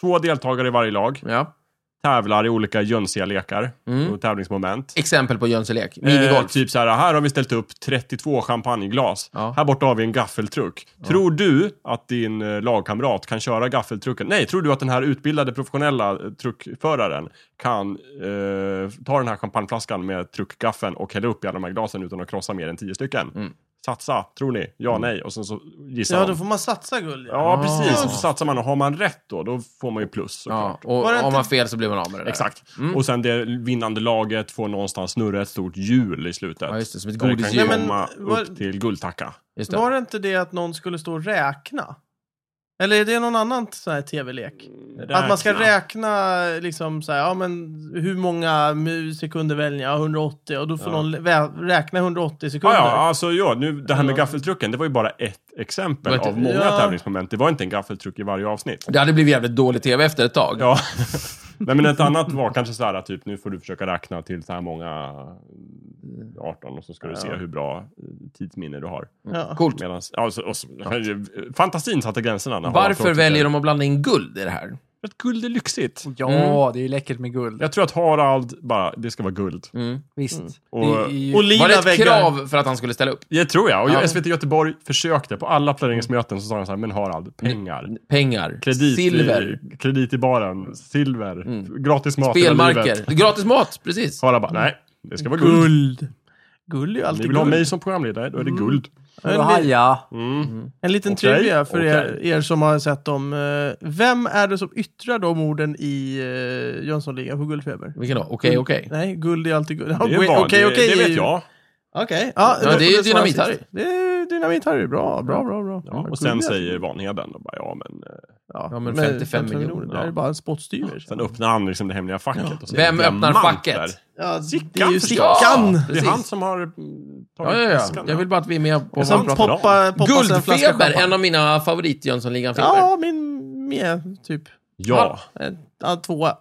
två deltagare i varje lag.
Ja.
tävlar i olika jönsiga lekar
Mm.
och tävlingsmoment.
Exempel på Jönselek. Minigolf.
Eh, typ så här, här har vi ställt upp 32 champagneglas.
Ja.
Här borta har vi en gaffeltruck. Tror du att din eh, lagkamrat kan köra gaffeltrucken? Nej, tror du att den här utbildade professionella eh, truckföraren kan eh, ta den här champagneflaskan med truckgaffeln och hälla upp i alla de här glasen utan att krossa mer än 10 stycken?
Mm.
Satsa, tror ni? Ja, nej. Och sen så gissar
Ja,
ja,
då får man satsa guld. ja.
Ja, precis.
Ah.
Och så satsar man och har man rätt då, då får man ju plus såklart.
ja, och
Var det
om
inte-
man fel så blir man av med det där.
Exakt. Och sen det vinnande laget får någonstans snurra ett stort hjul i slutet.
Ja, just det. Som ett
Där det
godisdjur.
kan
Nej, men-
komma
vad-
upp till guldtacka.
Just det.
Var det inte det att någon skulle stå och räkna? Eller är det någon annan sån här tv-lek? Att man ska räkna liksom så här, ja men hur många mu- sekunder väljer jag? Ja, 180 och då får
Ja.
någon vä- räkna 180
Ja,
sekunder.
ja, alltså ja, nu, det här med
Eller-
gaffeltrucken, det var ju bara ett exempel
Det var ett-
av många
Ja.
tävlingsmoment. Det var inte en gaffeltruck i varje avsnitt.
Det hade blivit jävligt dålig tv efter ett tag.
Ja. Nej, men ett annat var kanske så här, typ nu får du försöka räkna till så här många, eh, 18, och så ska du se hur bra eh, tidsminne du har.
Ja.
Coolt.
Medans, alltså, och så, Fantasin satte gränserna. när Harald
Varför
Krotiker-
väljer de att blanda in guld i det här?
För att guld är lyxigt.
Ja,
Mm.
det är ju läckert med guld.
Jag tror att Harald bara, det ska vara guld.
Visst.
Och,
Det är ju-
Olina
Mm. Var det ett
väggar.
krav för att han skulle ställa upp?
Det tror jag. Och
Ja.
SVT Göteborg försökte på alla planeringsmöten så sa de så här, men Harald, pengar.
Pengar,
Kredit,
Mm. silver, Mm.
I, kredit i baren, silver, gratis mat hela livet.
spelmarker. Gratis mat, precis.
Harald bara, nej, det ska vara guld.
Guld. Guld är ju
Ni
alltid
vill ha
guld.
mig som programledare, då är
Mm.
det guld. Mm.
En,
Och
li-
haja.
en liten
Okej,
trivia för er,
okej.
er som har sett dem. Eh, Vem är det som yttrar de orden i eh, Jönssonligan på Guldfeber?
Vilken då? Okej,
Mm.
okej.
Nej, guld är alltid guld. Ja,
Det, är
okej,
bara,
okej,
det,
okej.
det vet jag.
Okej. Ja,
Ja,
då
det är
får
ju
svara
Dynamit-Harry.
sist. Det är Dynamit-Harry. Bra, bra, bra. bra.
Ja, och
Guld
sen
är-
säger Vanheden, då bara, ja men. eh,
Ja, men
med
55 miljoner,
Det här
ja.
är bara en spottstyver.
Sen öppnar han liksom det hemliga facket. Och så är
Vem
det
öppnar
diamanter.
facket?
Ja, det är
Sickan
ju
förstås.
Sickan!
Det är
Precis.
han som har mm,
Ja,
tagit
ja, ja.
väskan,
Jag vill bara att vi är med på
Och
vad
Som
vi
pratar
pratar om.
poppa, poppas en flaska
Guldfeber,
champagne.
en av mina favorit Jönsson Ligan-filmer.
Ja, min med, typ.
ja.
Eh, Ja, tvåa.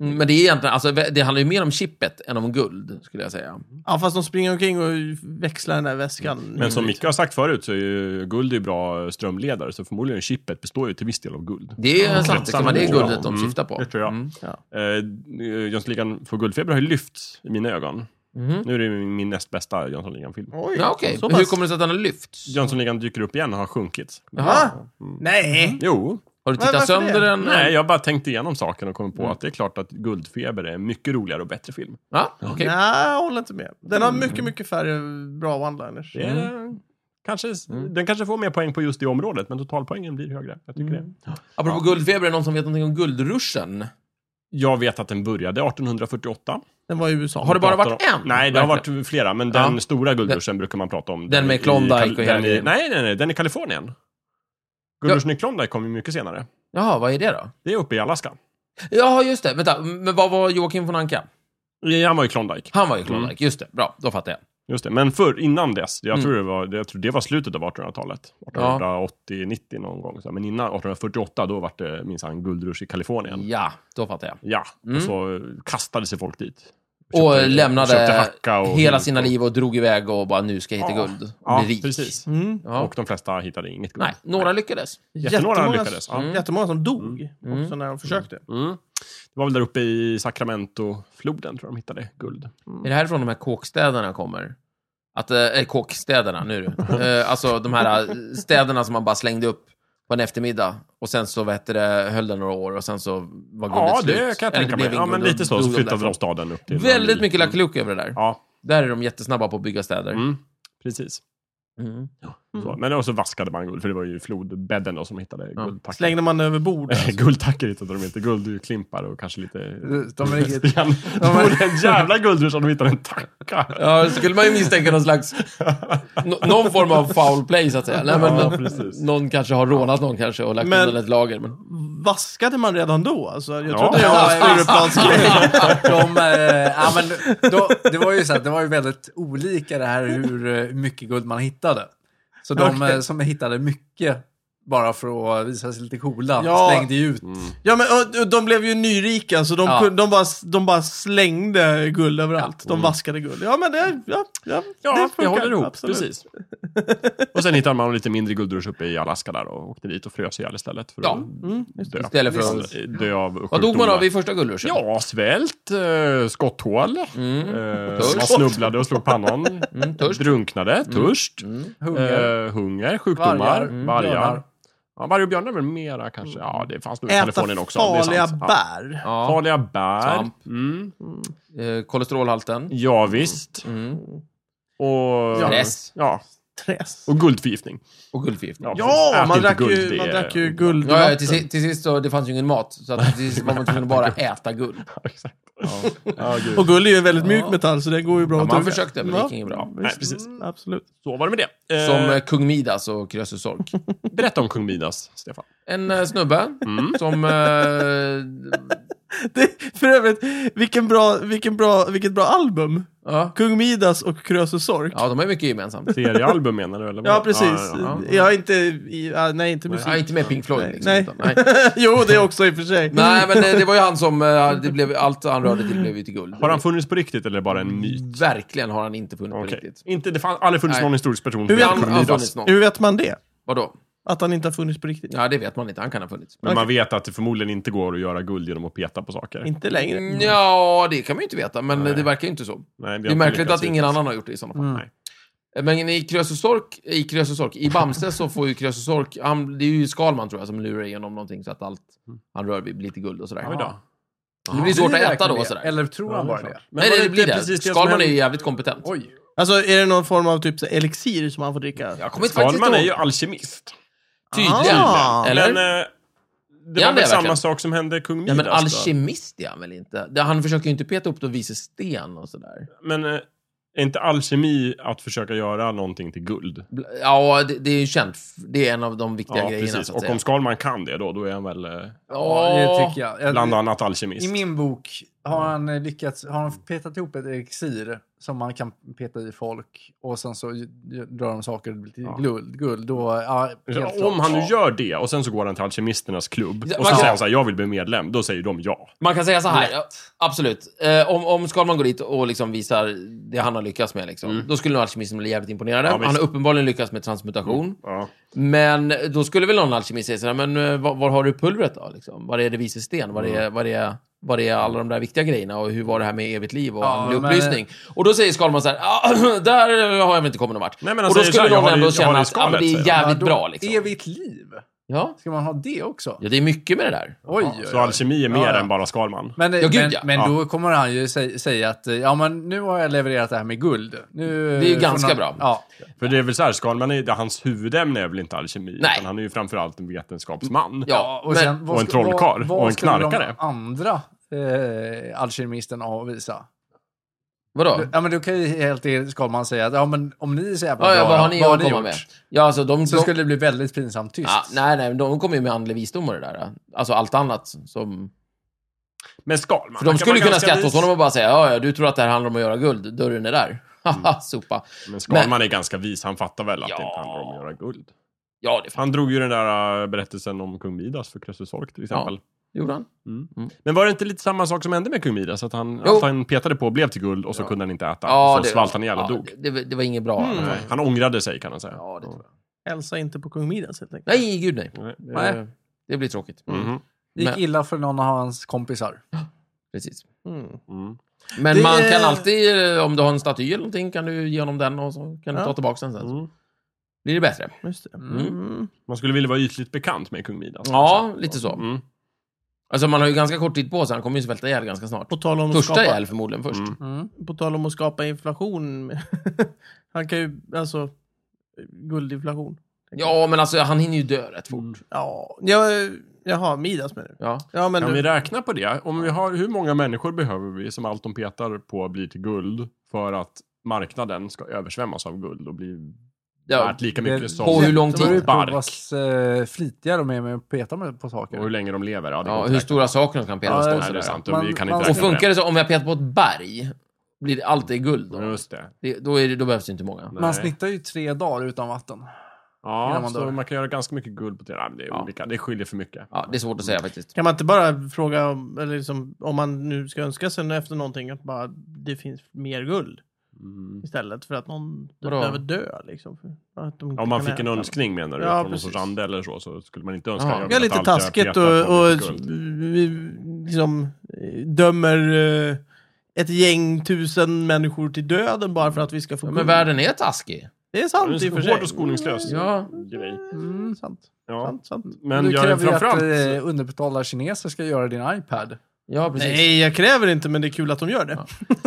Mm, Men det är egentligen, alltså, det handlar ju mer om chippet än om guld, skulle jag säga.
Ja, fast de springer omkring och växlar den där väskan.
Men som Micke har sagt förut så är ju guld ju bra strömledare, så förmodligen chipet består ju till viss del av guld.
Det är
Ja,
sant, liksom, men det är
kretsar.
guldet de
Mm,
syftar på.
det tror jag.
Mm.
Eh, Jönssonligan för guldfeber har ju lyfts i mina ögon.
Mhm.
Nu är det min näst bästa Jönssonligan-film.
Oj,
Ja, okej.
så
Men Hur
pass.
kommer det sig att den har lyfts?
Jönssonligan dyker upp igen och har sjunkit.
Jaha. Mm.
Va? Nej!
Jo,
Har du
Men
tittat
varför
sönder
det?
den?
nej, jag har bara tänkt igenom saken och kommit på att det är klart att Guldfeber är en mycket roligare och bättre film.
Ja, okej.
Nej, jag håller inte med. Den
Mm.
har mycket, mycket färre bra one-liners.
Det är, kanske, Den kanske får mer poäng på just det området, men totalpoängen blir högre. Jag tycker det.
Apropå guldfeber, är det någon som vet någonting om guldruschen?
Jag vet att den började 1848.
Den var i USA.
Har det bara
pratar
varit
om-
en?
Nej, det har
Verkligen.
varit flera, men
Ja.
den stora guldruschen brukar man prata om.
Den med
i-
Klondike
i Kal-
och hela
den i,
grejen.
Nej, nej, nej, den i Kalifornien. Guldruschen i Klondike kom ju mycket senare.
Jaha, vad är det då?
Det är uppe i Alaska.
Jaha, just det. Vänta, men vad var Joakim von Anka?
Ja, Han var i Klondike.
Han var ju Klondike, just det. Bra, då fattar jag.
Just det. Men förr, innan dess, jag,
Mm.
tror det var, det- jag tror det var slutet av 1800-talet. 1880-90 någon gång. så här. Men innan 1848, då var det minsann guldrusch i Kalifornien.
Ja, då fattar jag.
Ja,
Mm.
och så eh, kastade sig folk dit.
Och
Köpte- köpte
lämnade
hacka och-
hela sina liv och drog iväg och bara, nu ska jag hitta
Ja.
guld. Och
Ja,
bli rik.
precis.
Mm.
Ja.
Och de flesta hittade inget guld.
Nej, några lyckades.
Jättemånga
Jättemånga- mm.
lyckades, ja.
Jättemånga som dog också när de försökte.
Mm. Det var väl där uppe i Sacramento-floden tror jag de hittade guld.
Är det härifrån de här kåkstäderna kommer? Att, äh, kåkstäderna, nu du. Eh, alltså de här eh, städerna som man bara slängde upp på en eftermiddag. Och sen så vad heter det, höll det några år och sen så var guldet
Ja,
slut.
det kan jag
Eller
tänka
blev
mig. Ja,
inget
men
guld,
lite
då
så. Så
dog de
flyttade
därifrån.
de staden upp till...
Väldigt mycket Lucky Luke över det där.
Ja,
Där är de jättesnabba på att bygga städer.
mm, precis.
Mm.
Så. Men också vaskade man guld, för det var ju flodbädden då som hittade guldtacker.
Slängde man över bord.
Guldtacker hittade de inte, guldklimpar och kanske lite...
De är riktigt-
Sten. Det vore en jävla guldrusch om de hittade en tacka.
Ja, det skulle man ju misstänka någon slags... nå- någon form av foul play, så att säga. Nej, men,
Ja, precis.
någon kanske har rånat någon kanske och lagt
Men-
undan ett lager. Men...
Vaskade man redan då? Alltså, jag
Ja.
trodde det var Stureplansgrej.
De, eh, ja, men då, det var ju så här, det var ju väldigt olika det här hur eh, mycket guld man hittade. Så de
Okej.
eh, som hittade mycket bara för att visa sig lite coola.
Ja.
Slängde ju
Mm.
ut.
Ja, men och, och de blev ju nyrika, så de,
Ja.
kunde, de, bara, de bara slängde guld överallt. De vaskade guld. Ja, men det, ja, ja,
Mm. Ja, det,
funkar.
håller ihop.
Absolut.
Precis. och sen hittade man lite mindre guldrush uppe i Alaska där och åkte dit och frös ihjäl istället för
Ja.
att
Mm.
dö.
Istället för att-
att... Dö av
Vad dog man av i första guldruschen?
Ja, svält, eh, skotthål,
Mm.
eh,
törst.
man snubblade och slog pannan,
Mm, törst.
drunknade, törst,
Mm.
Hunger.
hunger, eh, hunger sjukdomar,
Vargar.
vargar.
Mm. Björnar.
vargar. Ja, varg och björnar är väl mera kanske. Ja, det fanns nog i
Äta
Kalifornien också. det är
farliga
sant. Ja.
bär.
Ja.
Farliga bär.
Svamp.
Mm.
Eh, kolesterolhalten.
Ja, visst.
Mm.
Och,
Stress.
Ja,
Träs.
och guldförgiftning.
Och guldförgiftning.
Ja,
Ät
man
inte
drack,
guld,
ju,
det
man
är-
drack ju guld.
Ja, ja, till, si- till sist så, det fanns ju ingen mat, så att till sist var man tvungen att bara äta guld.
Exakt. Ja, gud.
Och guld är ju en väldigt mjuk metall, så det går ju bra
Ja,
att
man
tugga.
försökte, men det gick inget bra.
visst.
Nej, precis.
Absolut.
Så var det med det. Eh,
Som eh, kung Midas och Krösus Sork.
Berätta om kung Midas, Stefan.
En eh, snubbe
Mm.
som... Eh,
Det, för övrigt, vilken bra, vilken bra, vilket bra album.
ja,
Kung Midas och Krösus Sork. Ja.
ja, de har ju mycket gemensamt.
Seriealbum menar du? Eller vad?
precis.
Ja, ja, ja.
Jag är inte... I, ah, nej, inte musik.
Ja, inte med Pink Floyd. Liksom,
Nej.
Utan, nej.
jo, det också i och för sig.
nej, men eh, det var ju han som... eh, Det blev, allt han rörde till blev ju till guld.
Har han funnits på riktigt eller bara en myt?
Verkligen har han inte funnits på
Okej.
riktigt.
Inte, det fanns aldrig funnits
Nej.
någon historisk
Hur
person som
vet
heter
Han
man-
kung
har
Midas.
funnits någon.
Hur vet man det?
Vadå?
Att han inte har funnits på riktigt?
Ja, det vet man inte. Han kan ha funnits.
Men man vet att det förmodligen inte går att göra guld genom att peta på saker.
Inte längre.
Mm, Ja, det kan man ju inte veta, men
Nej.
det verkar ju inte så.
Nej, vi
Det
har
är
inte
märkligt
lyckats Mm.
att ingen
hittills.
annan har gjort det i sådana fall. Eh,
Nej.
Men i Krösus Sork, i Krösus Sork, i Bamse så får ju Krösus Sork, han, det är ju Skalman tror jag som lurar igenom någonting så att allt
Mm.
han rör vid blir lite guld och sådär.
Oj då.
Men Det blir svårt att äta då och
verkligen
sådär.
det? Eller tror han bara det?
Men
Nej, det, det
var inte
blir det.
precis som
Skalman är ju
hände?
jävligt kompetent.
Oj.
Alltså, är det någon form av typ så här elixir som han får dricka?
Jag kommer inte faktiskt
Skalman är ju
ihåg. alkemist.
alkemist.
Tydligen.
Ah.
Eller?
Men, eh, det
Ja,
var
det är
väl samma
verkligen.
sak som hände kung
ja,
Midas?
men
då?
alkemist är han väl inte? Det- Han försöker ju inte peta upp de vise sten och sådär.
Men eh, är inte alkemi att försöka göra någonting till guld?
Bl- Ja, det, det är ju känt. f- Det är en av de viktiga
Ja,
grejerna,
precis.
så att
Och
säga.
om Skalman kan det då, då är han väl eh,
Ja, det tycker jag. jag.
bland annat
I
alkemist.
min bok har han eh, lyckats, har han petat ihop ett elixir som man kan peta i folk och sen så ju- ju- drar de saker och blir till
Ja.
guld. guld då, ja, helt
Ja,
klart.
Om han nu
Ja.
gör det och sen så går han till alkemisternas klubb
Ja, man
och så
kan-
säger han så här, jag vill bli medlem. Då säger de ja.
Man kan säga så här, ja, absolut. Eh, om, om Skalman går dit och liksom visar det han har lyckats med, liksom, då skulle nog alkemisten bli jävligt imponerad.
Mm. Ja, visst.
han har uppenbarligen lyckats med transmutation.
ja.
Men då skulle väl någon alkemist säga så här, men eh, var, var har du pulvret då? Liksom? Var är det vise sten? Var
Mm.
är, var, är, var är alla de där viktiga grejerna? Och hur var det här med evigt liv och
Ja,
andlig
men-
upplysning?
eh,
Och då säger Skalman så här, ah, där har jag väl inte kommit någon vart.
Nej, men han
och då
säger så
skulle
här, jag
någon
har det-
ändå
jag
känna
har det i
att ah, men
skallet,
det är
säger han.
jävligt
Ja, då-
bra. Liksom.
Evigt liv?
Ja.
Ska man ha det också?
ja, det är mycket med det där.
Oj,
Ja,
oj,
Så
oj.
alkemi är mer
Ja, ja.
än bara Skalman.
Men,
Ja, gud,
men,
ja.
men
Ja.
då kommer han ju sä- säga att eh, ja, men nu har jag levererat det här med guld. Nu
Det är ju
får
ganska
någon-
bra.
Ja,
För det är väl så här, Skalman, är, det, hans huvudämne är väl inte alkemi?
Nej.
Utan han är ju framförallt en vetenskapsman.
Ja,
och,
men-
sen, vad
och en
sk- vad-
trollkarl,
vad
och en
skulle
knarkare.
de andra eh, alkemisterna ha att visa?
Vadå?
Ja, men då kan ju helt enkelt Skalman säga att ja, men om ni är så jävla
Ja,
bra,
ja, vad har ni att komma
gjort?
med? Ja, alltså, de,
Så
de,
skulle det bli väldigt pinsamt tyst.
Ja, nej, nej, men de kommer ju med andlig visdom och det där. Alltså allt annat som...
Men
För
Skalman,
de
han kan
skulle
vara
kunna
ganska
skratta åt
vis.
honom och bara säga ja, ja, du tror att det här handlar om att göra guld. Dörren är där.
Mm.
Haha, sopa.
Men Skalman är ganska vis, han fattar väl att
Ja.
det inte handlar om att göra guld.
Ja, det fan.
Han drog ju den där äh, berättelsen om kung Midas för Krösus Sork till exempel.
gjorde han.
Men var det inte lite samma sak som hände med kung Midas? Att han,
Jo.
att han petade på, blev till guld och så kunde han inte äta.
Ja,
och så svalt han ihjäl och
ja,
dog.
Det, det, det var inget bra.
Mm.
Nej, Han ångrade sig kan man säga.
Ja, det tror jag.
Hälsa inte på kung Midas helt enkelt.
Nej, gud nej.
Nej.
Det- Det blir tråkigt.
Mhm.
Det gick
Men-
illa för någon av hans kompisar.
Precis.
Mm.
Mm.
Men
Det-
man kan alltid, eh, om du har en staty eller någonting, kan du ge honom den och så kan du
Ja.
ta tillbaka den sen. Så
Mm.
blir det bättre.
Just det.
Mm.
Mm.
Man skulle vilja vara ytligt bekant med kung Midas.
Ja, lite så.
Mm.
Alltså man har ju ganska kort tid på sig, han kommer ju svälta ihjäl ganska snart.
På tal om att
Första
skapa...
ihjäl förmodligen först.
Mm.
Mm.
På tal om att skapa inflation. han kan ju, alltså, guldinflation.
Ja, men alltså han hinner ju dö rätt
Mm.
fort.
Ja, ja jaha, Midas menar du?
Ja.
Ja, men
Kan
du-
vi räkna på det? Om vi har, hur många människor behöver vi som allt de petar på blir till guld för att marknaden ska översvämmas av guld och bli
ja.
värt lika mycket
Det-
som
På hur lång
Det beror ju
tid?
på
Bark.
vad eh, flitiga de är med att peta med- på saker.
och hur länge de lever? Ja, det går
Ja,
inte
hur
att
stora saker de kan peta
Ja,
på
det-
stål
räkna. Nej,
sådär.
det är sant.
Man-
vi kan
man-
inte
Och
räkna med
funkar det så, om jag petar på ett berg, blir det alltid guld
det.
då?
Just det.
Det, då, är det, då behövs det inte många.
Nej.
Man snittar ju tre dagar utan vatten.
Ja,
innan man
så
dör.
man kan göra ganska mycket guld på det. Nej, men det är
Ja.
olika. Det skiljer för mycket.
Ja, det är svårt att säga faktiskt.
Kan man inte bara fråga om, eller liksom, om man nu ska önska sig efter någonting att bara, det finns mer guld
Mm.
istället för att någon
Vadå?
behöver dö. Liksom, för att de inte
Om man
kan
fick en
äta.
önskning menar du?
Ja,
från någon sorts
precis.
ande eller så, så skulle man inte önska.
Ja,
jag vill
Ja,
att
lite
allt jag
taskigt
petar
och,
får
och
mycket guld.
vi liksom eh, dömer eh, ett gäng tusen människor till döden bara för att vi ska få
Ja, men
guld.
världen är taskig.
Det är
Ja,
sant
det
i
är
och för
en
sig.
hård och skoningslös
Ja.
grej.
Mm, sant,
Ja.
sant, sant.
Men
du
jag är
kräver ju att
framförallt... Mm.
eh, underbetalda kineser ska göra din iPad.
Ja, precis.
Nej, jag kräver inte, men det är kul att de gör det.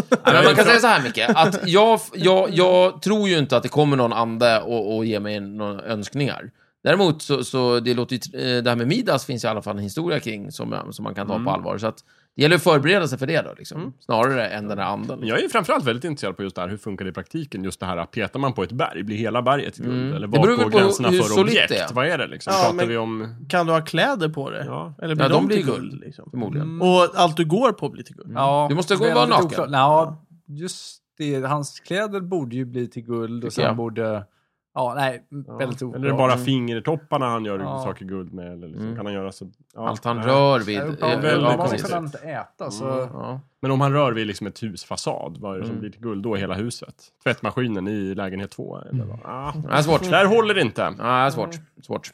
Ja, men man kan säga så här, Micke, att jag, jag, jag tror ju inte att det kommer någon ande och, och ger mig några önskningar. Däremot så, så det låter ju, tr- eh, det här med Midas finns ju i alla fall en historia kring som, som man kan ta på allvar. Så att det gäller att förbereda sig för det då, liksom. snarare än den där anden.
Jag är ju framförallt väldigt intresserad på just det här, hur funkar det i praktiken? Just det här, petar man på ett berg, blir hela berget guld?
Mm.
Eller
Det beror
vad
väl
går
på
gränserna
hur
för
solitt
objekt?
det är.
Vad är det liksom?
Ja,
Pratar
men-
vi om...
Kan du ha kläder på det?
Ja.
Eller blir
Ja,
de,
de
till
blir
guld?
guld.
Liksom?
Förmodligen.
Och allt du går på blir till guld?
Ja,
Du måste gå och vara
relativt
naken.
oklart. Ja, just det. Hans kläder borde ju bli till guld och
Tycker
sen
jag.
borde... Ja, nej, väldigt oklart.
Eller är det bara fingertopparna han gör
Ja.
saker guld med? Eller liksom,
Mm.
Kan han göra så? Ja.
Allt han
Nej.
rör vid...
Nej,
eh,
uppenbarligen
väldigt
ja,
har man
precis.
konstigt. Mm.
kunnat inte äta, så...
Ja.
Men om han rör vid liksom ett husfasad, vad är det som
Mm.
blir till guld då i hela huset? Tvättmaskinen i lägenhet två?
Mm.
Eller vad? Ah,
Nej, svårt.
där håller det inte.
Nej, svårt. svårt.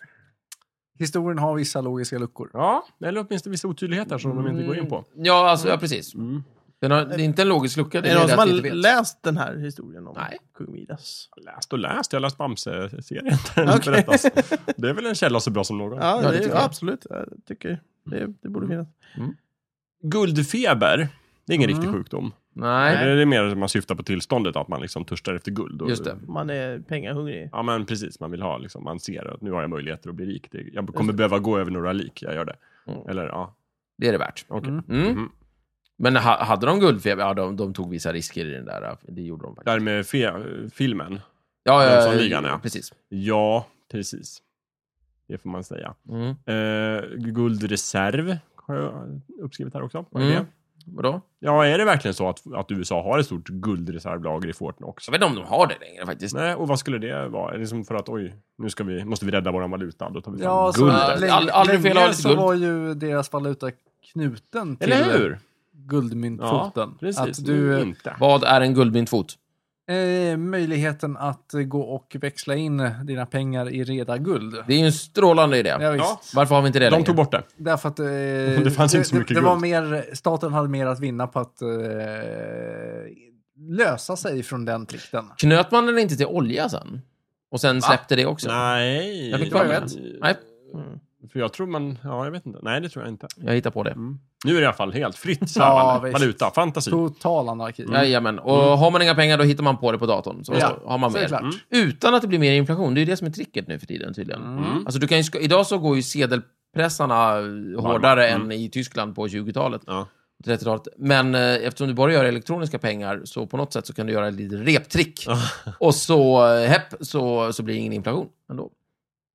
Historien har vissa logiska luckor.
Ja, eller åtminstone vissa otydligheter som de inte går in på.
Ja, alltså, ja, precis.
Mm.
Den har, det är inte en logisk lucka. Det
Är
är
det någon
det
som
att
har
vi inte vet.
läst den här historien om
Nej.
kung Midas?
Läst och läst, jag har läst Bamse-serien där den berättas. Det är väl en källa så bra som någon.
Ja,
Ja, det
det,
tycker
ja
jag. Mm.
absolut. Jag tycker det, det borde finnas.
Guldfeber, det är ingen
Mm.
riktig sjukdom.
Nej,
Det är mer som man syftar på tillståndet, att man liksom törstar efter guld. Och,
just det.
Man är pengahungrig.
Ja, men precis. Man vill ha, liksom, man ser att nu har jag möjligheter att bli rik. Det, jag kommer behöva gå över några lik, jag gör det.
Mm.
Eller ja,
Det är det värt.
okej.
Mm.
Mm.
Mhm.
Men ha, hade de guldfeber? Ja, de, de tog vissa risker i den där. Det gjorde de
Det
faktiskt.
här med fe- filmen.
Ja, eh,
Jönssonligan, ja.
Precis.
Ja, precis. Det får man säga.
Mm.
Eh, guldreserv har jag uppskrivit här också. Vad är
Mm.
det?
Vadå?
Ja, är det verkligen så att, att USA har ett stort guldreservlager i Fortnox?
Jag vet inte om de har det längre faktiskt.
Nej, och vad skulle det vara? Är det som för att oj, nu ska vi, måste vi rädda vår valuta, då tar vi fram
Ja, så,
guld.
Guldet.
länge,
Ald- aldrig fel att ha
länge
lite
så
guld.
var ju deras valuta knuten till
Eller hur?
guldmyntfoten.
Precis. Mm.
att du, eh,
inte.
Vad är en guldmyntfot?
eh, möjligheten att eh, gå och växla in dina pengar i reda guld.
Det är ju en strålande idé.
Ja, visst.
Ja.
Varför har vi inte det
De
längre?
tog bort det.
Därför att... Eh,
Det fanns inte så mycket
det, det var
guld.
mer, Staten hade mer att vinna på att eh, lösa sig från den plikten.
Typ.
Knöt man den inte till olja sen? Och sen släppte det också?
Nej.
Jag fick
för mig
Eh,
rätt. Nej.
För jag tror man, ja jag vet inte. Nej, det tror jag inte.
Jag hittar på det.
Nu är det i alla fall helt fritt
Ja,
svävande
visst.
valuta, fantasi.
Total anarki.
Jajamän. Och har man inga pengar då hittar man på det på datorn. Mm. Så
Mm. Ja,
har man
så är det
mer.
klart.
Utan att det blir mer inflation. Det är ju det som är tricket nu för tiden tydligen.
Mm.
Alltså, du kan ju, sk- idag så går ju sedelpressarna hårdare än i Tyskland på 20-talet.
Mm. Ja.
30-talet. Men eh, eftersom du bara gör elektroniska pengar så på något sätt så kan du göra ett litet reptrick. Och så, eh, hepp, så, så blir det ingen inflation ändå.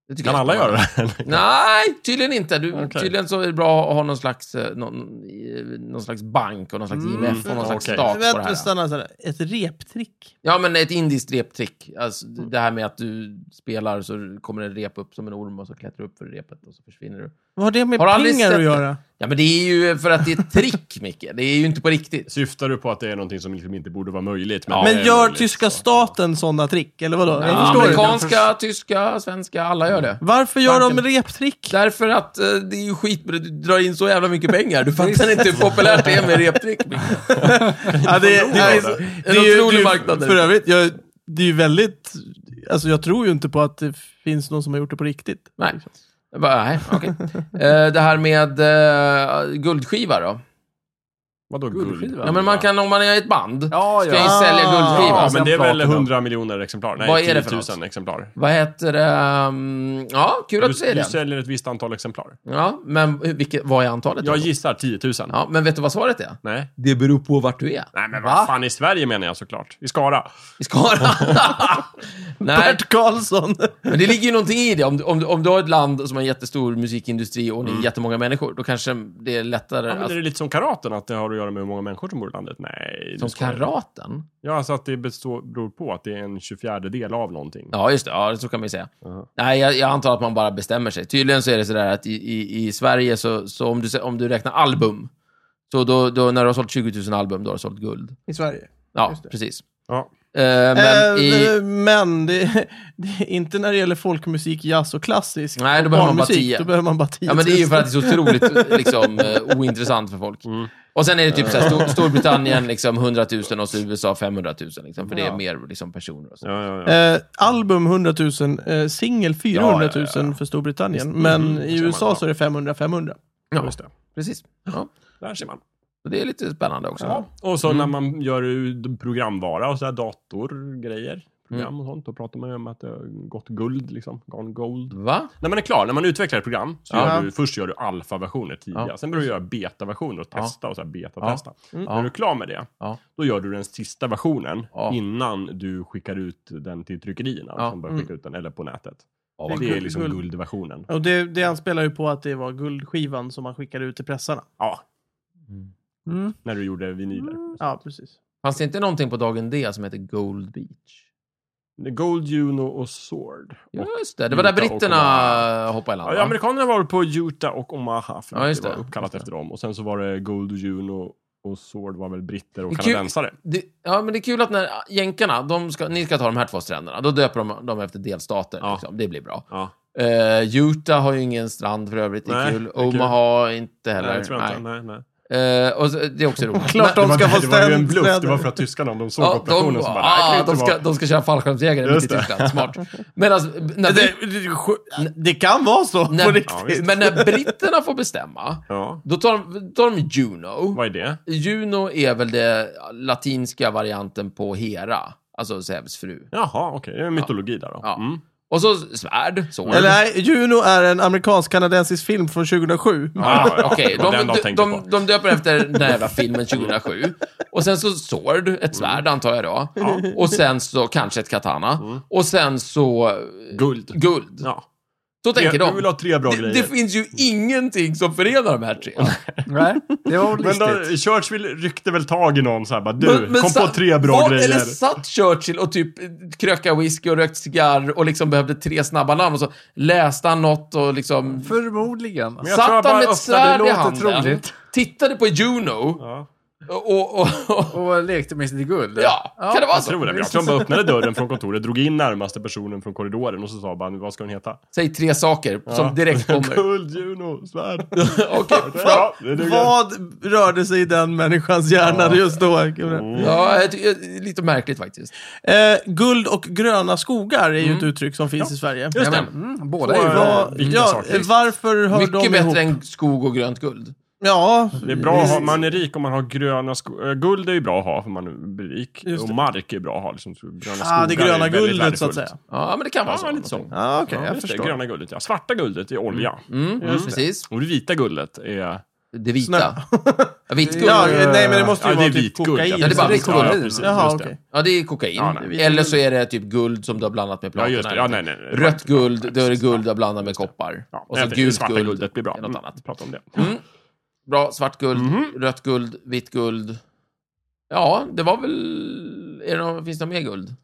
Det tycker
Kan
jag
alla
är spännande.
göra det?
Nej, tydligen inte. Du,
Okej.
Tydligen så är det bra att ha någon slags, eh, någon, eh, någon slags bank och någon slags
Mm.
IMF och någon slags
Okej.
stat på det
Vänta,
här.
stanna. så här. Ett reptrick.
Ja, men ett indiskt reptrick. Alltså, d- det här med att du spelar så kommer en rep upp som en orm och så klättrar du upp för repet och så försvinner du.
Vad har det med
Har du aldrig
pengar
sett
att
det?
göra?
Ja, men det är ju för att det är ett trick, Micke. Det är ju inte på riktigt.
Syftar du på att det är någonting som liksom inte borde vara möjligt?
Ja,
det
men
är
gör
möjligt,
tyska
så.
staten sådana trick, eller vadå?
Ja,
jag förstår Mm. inte.
amerikanska, tyska, svenska, alla gör det.
Varför gör
Banken.
de reptrick?
Därför att eh, det är ju skit med det. Du drar in så jävla mycket pengar. Du fattar inte hur populärt det är med reptrick. Micke.
Ja, det, det, är-
det.
det
En
är ju-
otrolig
det är ju-
marknad där
För
ute.
övrigt, jag, det är ju väldigt... Alltså jag tror ju inte på att det finns någon som har gjort det på riktigt.
Nej. Jag Bara, nej, okej. Eh, det här med eh, guldskiva då.
Vadå guld?
Guldskiva?
Ja, men man kan, om man är i ett band,
Ja,
ska
ja.
jag ju sälja guldskiva.
Ja, men
sen
det är väl
platina.
100 miljoner exemplar? Nej,
Vad är det för
10 000
något?
exemplar.
Vad heter det? ehm, ja, kul att du
Du,
säger
du
det.
säljer ett visst antal exemplar.
Ja, men hur- vilket, vad är antalet? då?
Jag gissar 10 000.
ja, men vet du vad svaret är?
Nej.
Det beror på vart du är.
Nej, men
Va?
vad fan, i Sverige menar jag såklart. I Skara.
I Skara. nej,
Bert Karlsson.
men det ligger ju någonting i det. Om, du- om, du- om du har ett land som har en jättestor musikindustri och ni är jättemånga människor, då kanske det är lättare
Ja, men
att
det är lite som karaten, att det har att göra med hur många människor som bor i landet? Nej.
Som
du skojar.
karaten?
Ja, alltså att det består, beror på att det är en 24 del av någonting.
Ja, just det. Ja, så kan man ju säga.
Ja.
Nej, jag, jag antar att man bara bestämmer sig. Tydligen så är det sådär att i, i, i Sverige, så, så om, du, sä- om du räknar album, så då, då, när du har sålt 20 000 album, då har du sålt guld.
i Sverige.
Ja,
Just det.
precis.
Ja.
Eh, men
Eh,
i...
men det, det är inte när det gäller folkmusik, jazz och klassisk
Nej, då behöver man bara
barnmusik,
10.
Då behöver man bara 10
Ja, men det är ju för att det är så otroligt liksom, eh, ointressant för folk.
Mm.
Och sen är det typ så här, Stor- Storbritannien liksom 100 000 och så USA 500 000, liksom, för det är
Ja.
mer liksom, personer och så.
Ja, ja, ja.
Eh, album 100 000, eh, singel 400 000
Ja, ja, ja.
för Storbritannien.
Visst.
Men
Mm,
i
ser man,
USA
ja.
så är det 500-500.
ja, just det.
Precis. Ja.
Där ser man.
Så det är lite spännande också.
Ja. Och så
Mm.
när man gör ju programvara och sådär, datorgrejer, program och sånt, då pratar man ju om att det har gått guld liksom. Gone gold.
Va?
När man är klar, när man utvecklar ett program, så
Ja.
gör du, först gör du alfa-versioner tidiga.
Ja.
Sen börjar du göra beta-versioner och
Ja.
testa och så här beta-testa.
Ja.
När du är klar med det,
Ja.
då gör du den sista versionen
Ja.
innan du skickar ut den till tryckerierna
Ja. Mm.
som börjar skicka ut den, eller på nätet.
Ja,
vad
det är
guld-
liksom
guld.
guldversionen.
Och det, det anspelar ju på att det var guldskivan som man skickade ut till pressarna.
Ja,
Mm.
när du gjorde vinyler.
Mm.
Ja, precis.
Fanns det inte någonting på dagen D som heter Gold Beach?
Gold, Juno och Sword.
Ja,
Och
just det. Det var där
Utah och
britterna hoppade i land,
Ja,
va?
amerikanerna var på Utah och Omaha, för
Ja,
att
just
det var
det.
uppkallat
Just det.
efter dem. Och sen så var det Gold och Juno och Sword var väl britter
Det
och
är kul.
kanadensare.
Det, ja, men det är kul att när jänkarna, de ska, ni ska ta de här två stränderna, då döper de dem efter delstater.
Ja.
Liksom. Det blir bra.
Ja,
Eh, Utah har ju ingen strand för övrigt, det är
Nej,
kul.
det är kul.
Omaha inte heller.
nej, det tror jag inte. Nej, nej.
Eh, och så, det är också roligt.
Klart
Men-
de ska
det,
få
var, det var ju en
ständ-
bluff. Det var
städer.
för att tyskarna, om de såg
Ja,
operationen,
de,
så bara, nej,
ah,
det kan
de,
inte
ska,
vara...
de ska köra fallskärmsjägare mitt
Just
i
det.
Tyskland. Smart. Men alltså, när,
Det,
brit-
det, det kan vara så på
när,
riktigt.
Ja, visst.
men när britterna får bestämma,
Ja,
då tar de, tar de Juno.
vad är det?
Juno är väl den latinska varianten på Hera, alltså Zeus fru.
Jaha, okej. Det är en mytologi där då.
Ja.
Mm.
Och så svärd, så.
Eller nej, Juno är en amerikansk-kanadensisk film från 2007.
Ah,
Ja, ja,
Okej,
det var den de
de, de,
tänkte
de,
på.
de döper efter den här jävla filmen 2007. Och sen så sword, ett svärd
Mm.
antar jag då. Och sen så kanske ett katana. Och sen så eh,
Guld.
guld.
Ja.
Så tänker
Tre-
de.
Vi vill ha tre bra
det,
grejer.
det finns ju ingenting som förenar de här tre.
Nej, det var väl
Men då,
listigt.
Churchill ryckte väl tag i någon så här, bara du, kom
sa-
på tre bra
var,
grejer.
Eller satt Churchill och typ kröka whisky och rökt cigarr och liksom behövde tre snabba namn och så läste han något och liksom...
Förmodligen.
Men jag tror
Satt
jag bara
han med ett
öppnade-
svärd i
låter
handen,
troligt.
tittade på Juno
Ja,
och... och, och
Och lekte med sitt guld.
ja, kan det vara
jag
så?
tror det. Jag tror han bara öppnade dörren från kontoret, drog in närmaste personen från korridoren och så sa bara, vad ska hon heta?
Säg tre saker som direkt kommer.
Guld, Juno, svärd.
Okej.
Ja, det duger.
Vad rörde sig i den människans hjärna just då?
Mm.
Ja, jag tycker- det är lite märkligt faktiskt.
Eh, guld och gröna skogar är ju ett uttryck som finns i Sverige.
Mm. Just det.
Jajamän.
Mm, båda
Får
är ju
jag-
bra.
Ja,
Vilka
ja,
saker.
varför hör de
Mycket
ihop?
bättre än skog och grönt guld.
Ja,
Det är bra att ha, man är rik om man har gröna skogar. Guld är ju bra att ha för man blir rik.
Just
Och
det.
mark är bra att ha. Liksom, så gröna
ah, det
skogar är
gröna
väldigt
guldet så att
värdefullt.
säga.
Ja, men det kan vara så.
Ja, lite så.
Ah, Okej, jag
just det,
förstår.
gröna guldet, ja. Svarta guldet är olja.
Mm, precis.
Och det vita guldet är...
Det
Snö.
vita. Ja, vitt guld.
Ja,
Ja,
nej, men det måste ju
Ja, det
vara
är
typ
vitguld.
kokain.
Ja, det är bara
precis.
vitguld.
Ja, precis,
Jaha,
just det.
okej.
det är kokain.
Ja, nej.
Eller så är det typ guld som du har blandat med
Ja,
platina.
just det. Ja, nej, nej, nej.
Rött guld, då är det
precis.
guld du har blandat med koppar.
Ja,
Och så
det
gult
svarta
guld.
guldet blir bra.
är något
Mm,
annat.
vi pratar om det.
Mm. Bra, svart guld,
Mhm.
rött guld, vitt guld. Ja, det var väl... Är det någon, finns det något mer guld?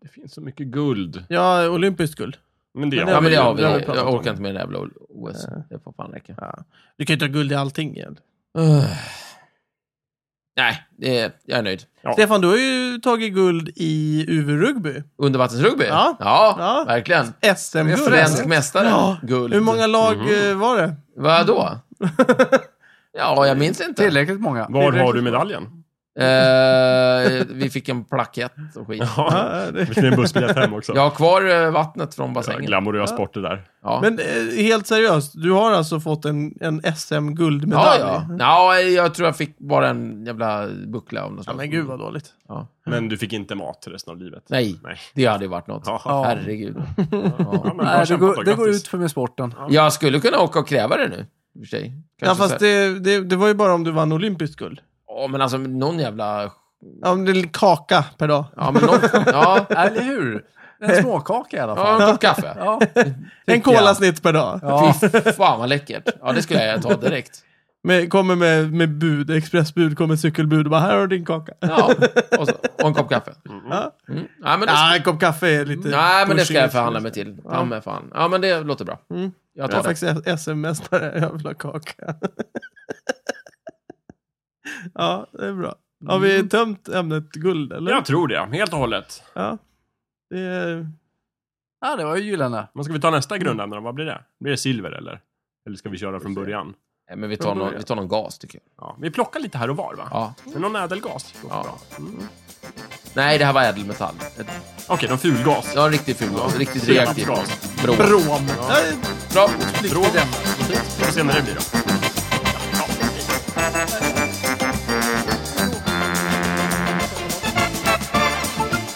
Det finns så mycket guld.
Ja, olympiskt guld.
Men det,
Men
Ja, men det har vi.
det har vi
Jag
pratat
orkar inte med det jävla OS. Det får fan räcka.
Ja. Du kan ju inte ha guld i allting. igen.
Öh. Nej, det är, jag är nöjd.
Stefan, du har ju tagit guld i UV-rugby.
Undervattensrugby?
Ja.
ja,
Ja.
verkligen.
SM-guld.
Svensk mästare.
Ja.
Guld.
Hur många lag
Mhm.
eh, var det?
Vadå? ja, jag minns inte.
Tillräckligt många.
Var har du medaljen?
Eh, vi fick en plakett och skit.
Ja, det-
Vilken är bussbiljett hem också?
Jag har kvar eh, vattnet från
Ja,
bassängen.
Glamorös sport det där.
Ja.
Men eh, helt seriöst, du har alltså fått en, en
Ja,
SM-guldmedalj?
ja. ja, jag tror jag fick bara en jävla buckla av något
ja,
slag.
men gud vad dåligt.
Ja.
Men du fick inte mat resten av livet?
Nej,
Nej.
det hade ju varit något.
Ja.
Herregud.
Ja,
Ja.
men bra
Nej, det
kämpat då,
går, det går
grattis.
ut för med sporten.
Jag skulle kunna åka och kräva det nu. i och för sig.
Ja,
Kanske
fast
så här-
det, det, det var ju bara om du vann olympiskt guld.
Ja, men alltså någon jävla...
Ja, men det är kaka per dag.
Ja, men någon... ja.
Eller hur? En småkaka i alla
ja,
fall.
en kopp kaffe.
Ja,
En
jag.
kolasnitt per dag.
ja.
Fy fan vad läckert. Ja, det skulle jag ta direkt.
Med, kommer med, med bud, expressbud, kommer cykelbud och bara här har du din kaka.
Ja, och, så, och en kopp kaffe.
Ja.
Mm. Ja, men det,
Ja, en kopp kaffe är lite...
nej, men det ska
pushing.
jag förhandla mig till. Ja, men fan. Ja, men det låter bra.
Mm.
Jag
Jag
tar
är
det.
faktiskt SM-mästare, jag vill ha kaka. ja, det är bra. Har
Mm.
vi tömt ämnet guld, eller?
Jag tror det, helt och hållet.
Ja. Det är...
Ja, det var ju gyllene.
Men ska vi ta nästa grundämne då? Vad blir det? Blir det silver eller? Eller ska vi köra från början?
Nej, men vi tar, någon, vi tar någon gas, tycker jag.
Ja, vi plockar lite här och var va?
Ja.
Men någon ädelgas låter
Ja.
bra. Mm.
Nej, det här var ädelmetall. Ett,
Okej, någon fulgas.
ja, en riktig ful gas. Riktigt reaktiv
Senapsgas.
brom.
Brom. Ja.
Bra.
Brom. Får se när det blir då. Ja, okej.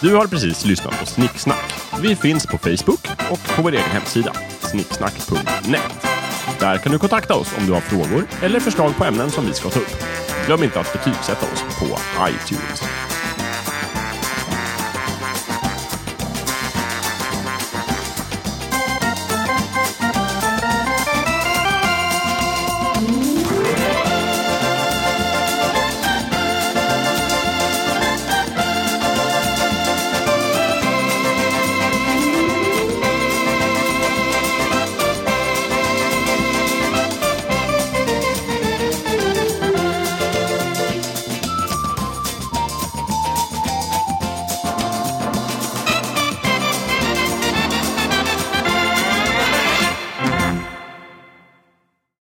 Du har precis lyssnat på Snicksnack. Vi finns på Facebook och på vår egen hemsida, snicksnack.net. Där kan du kontakta oss om du har frågor eller förslag på ämnen som vi ska ta upp. Glöm inte att betygsätta oss på iTunes.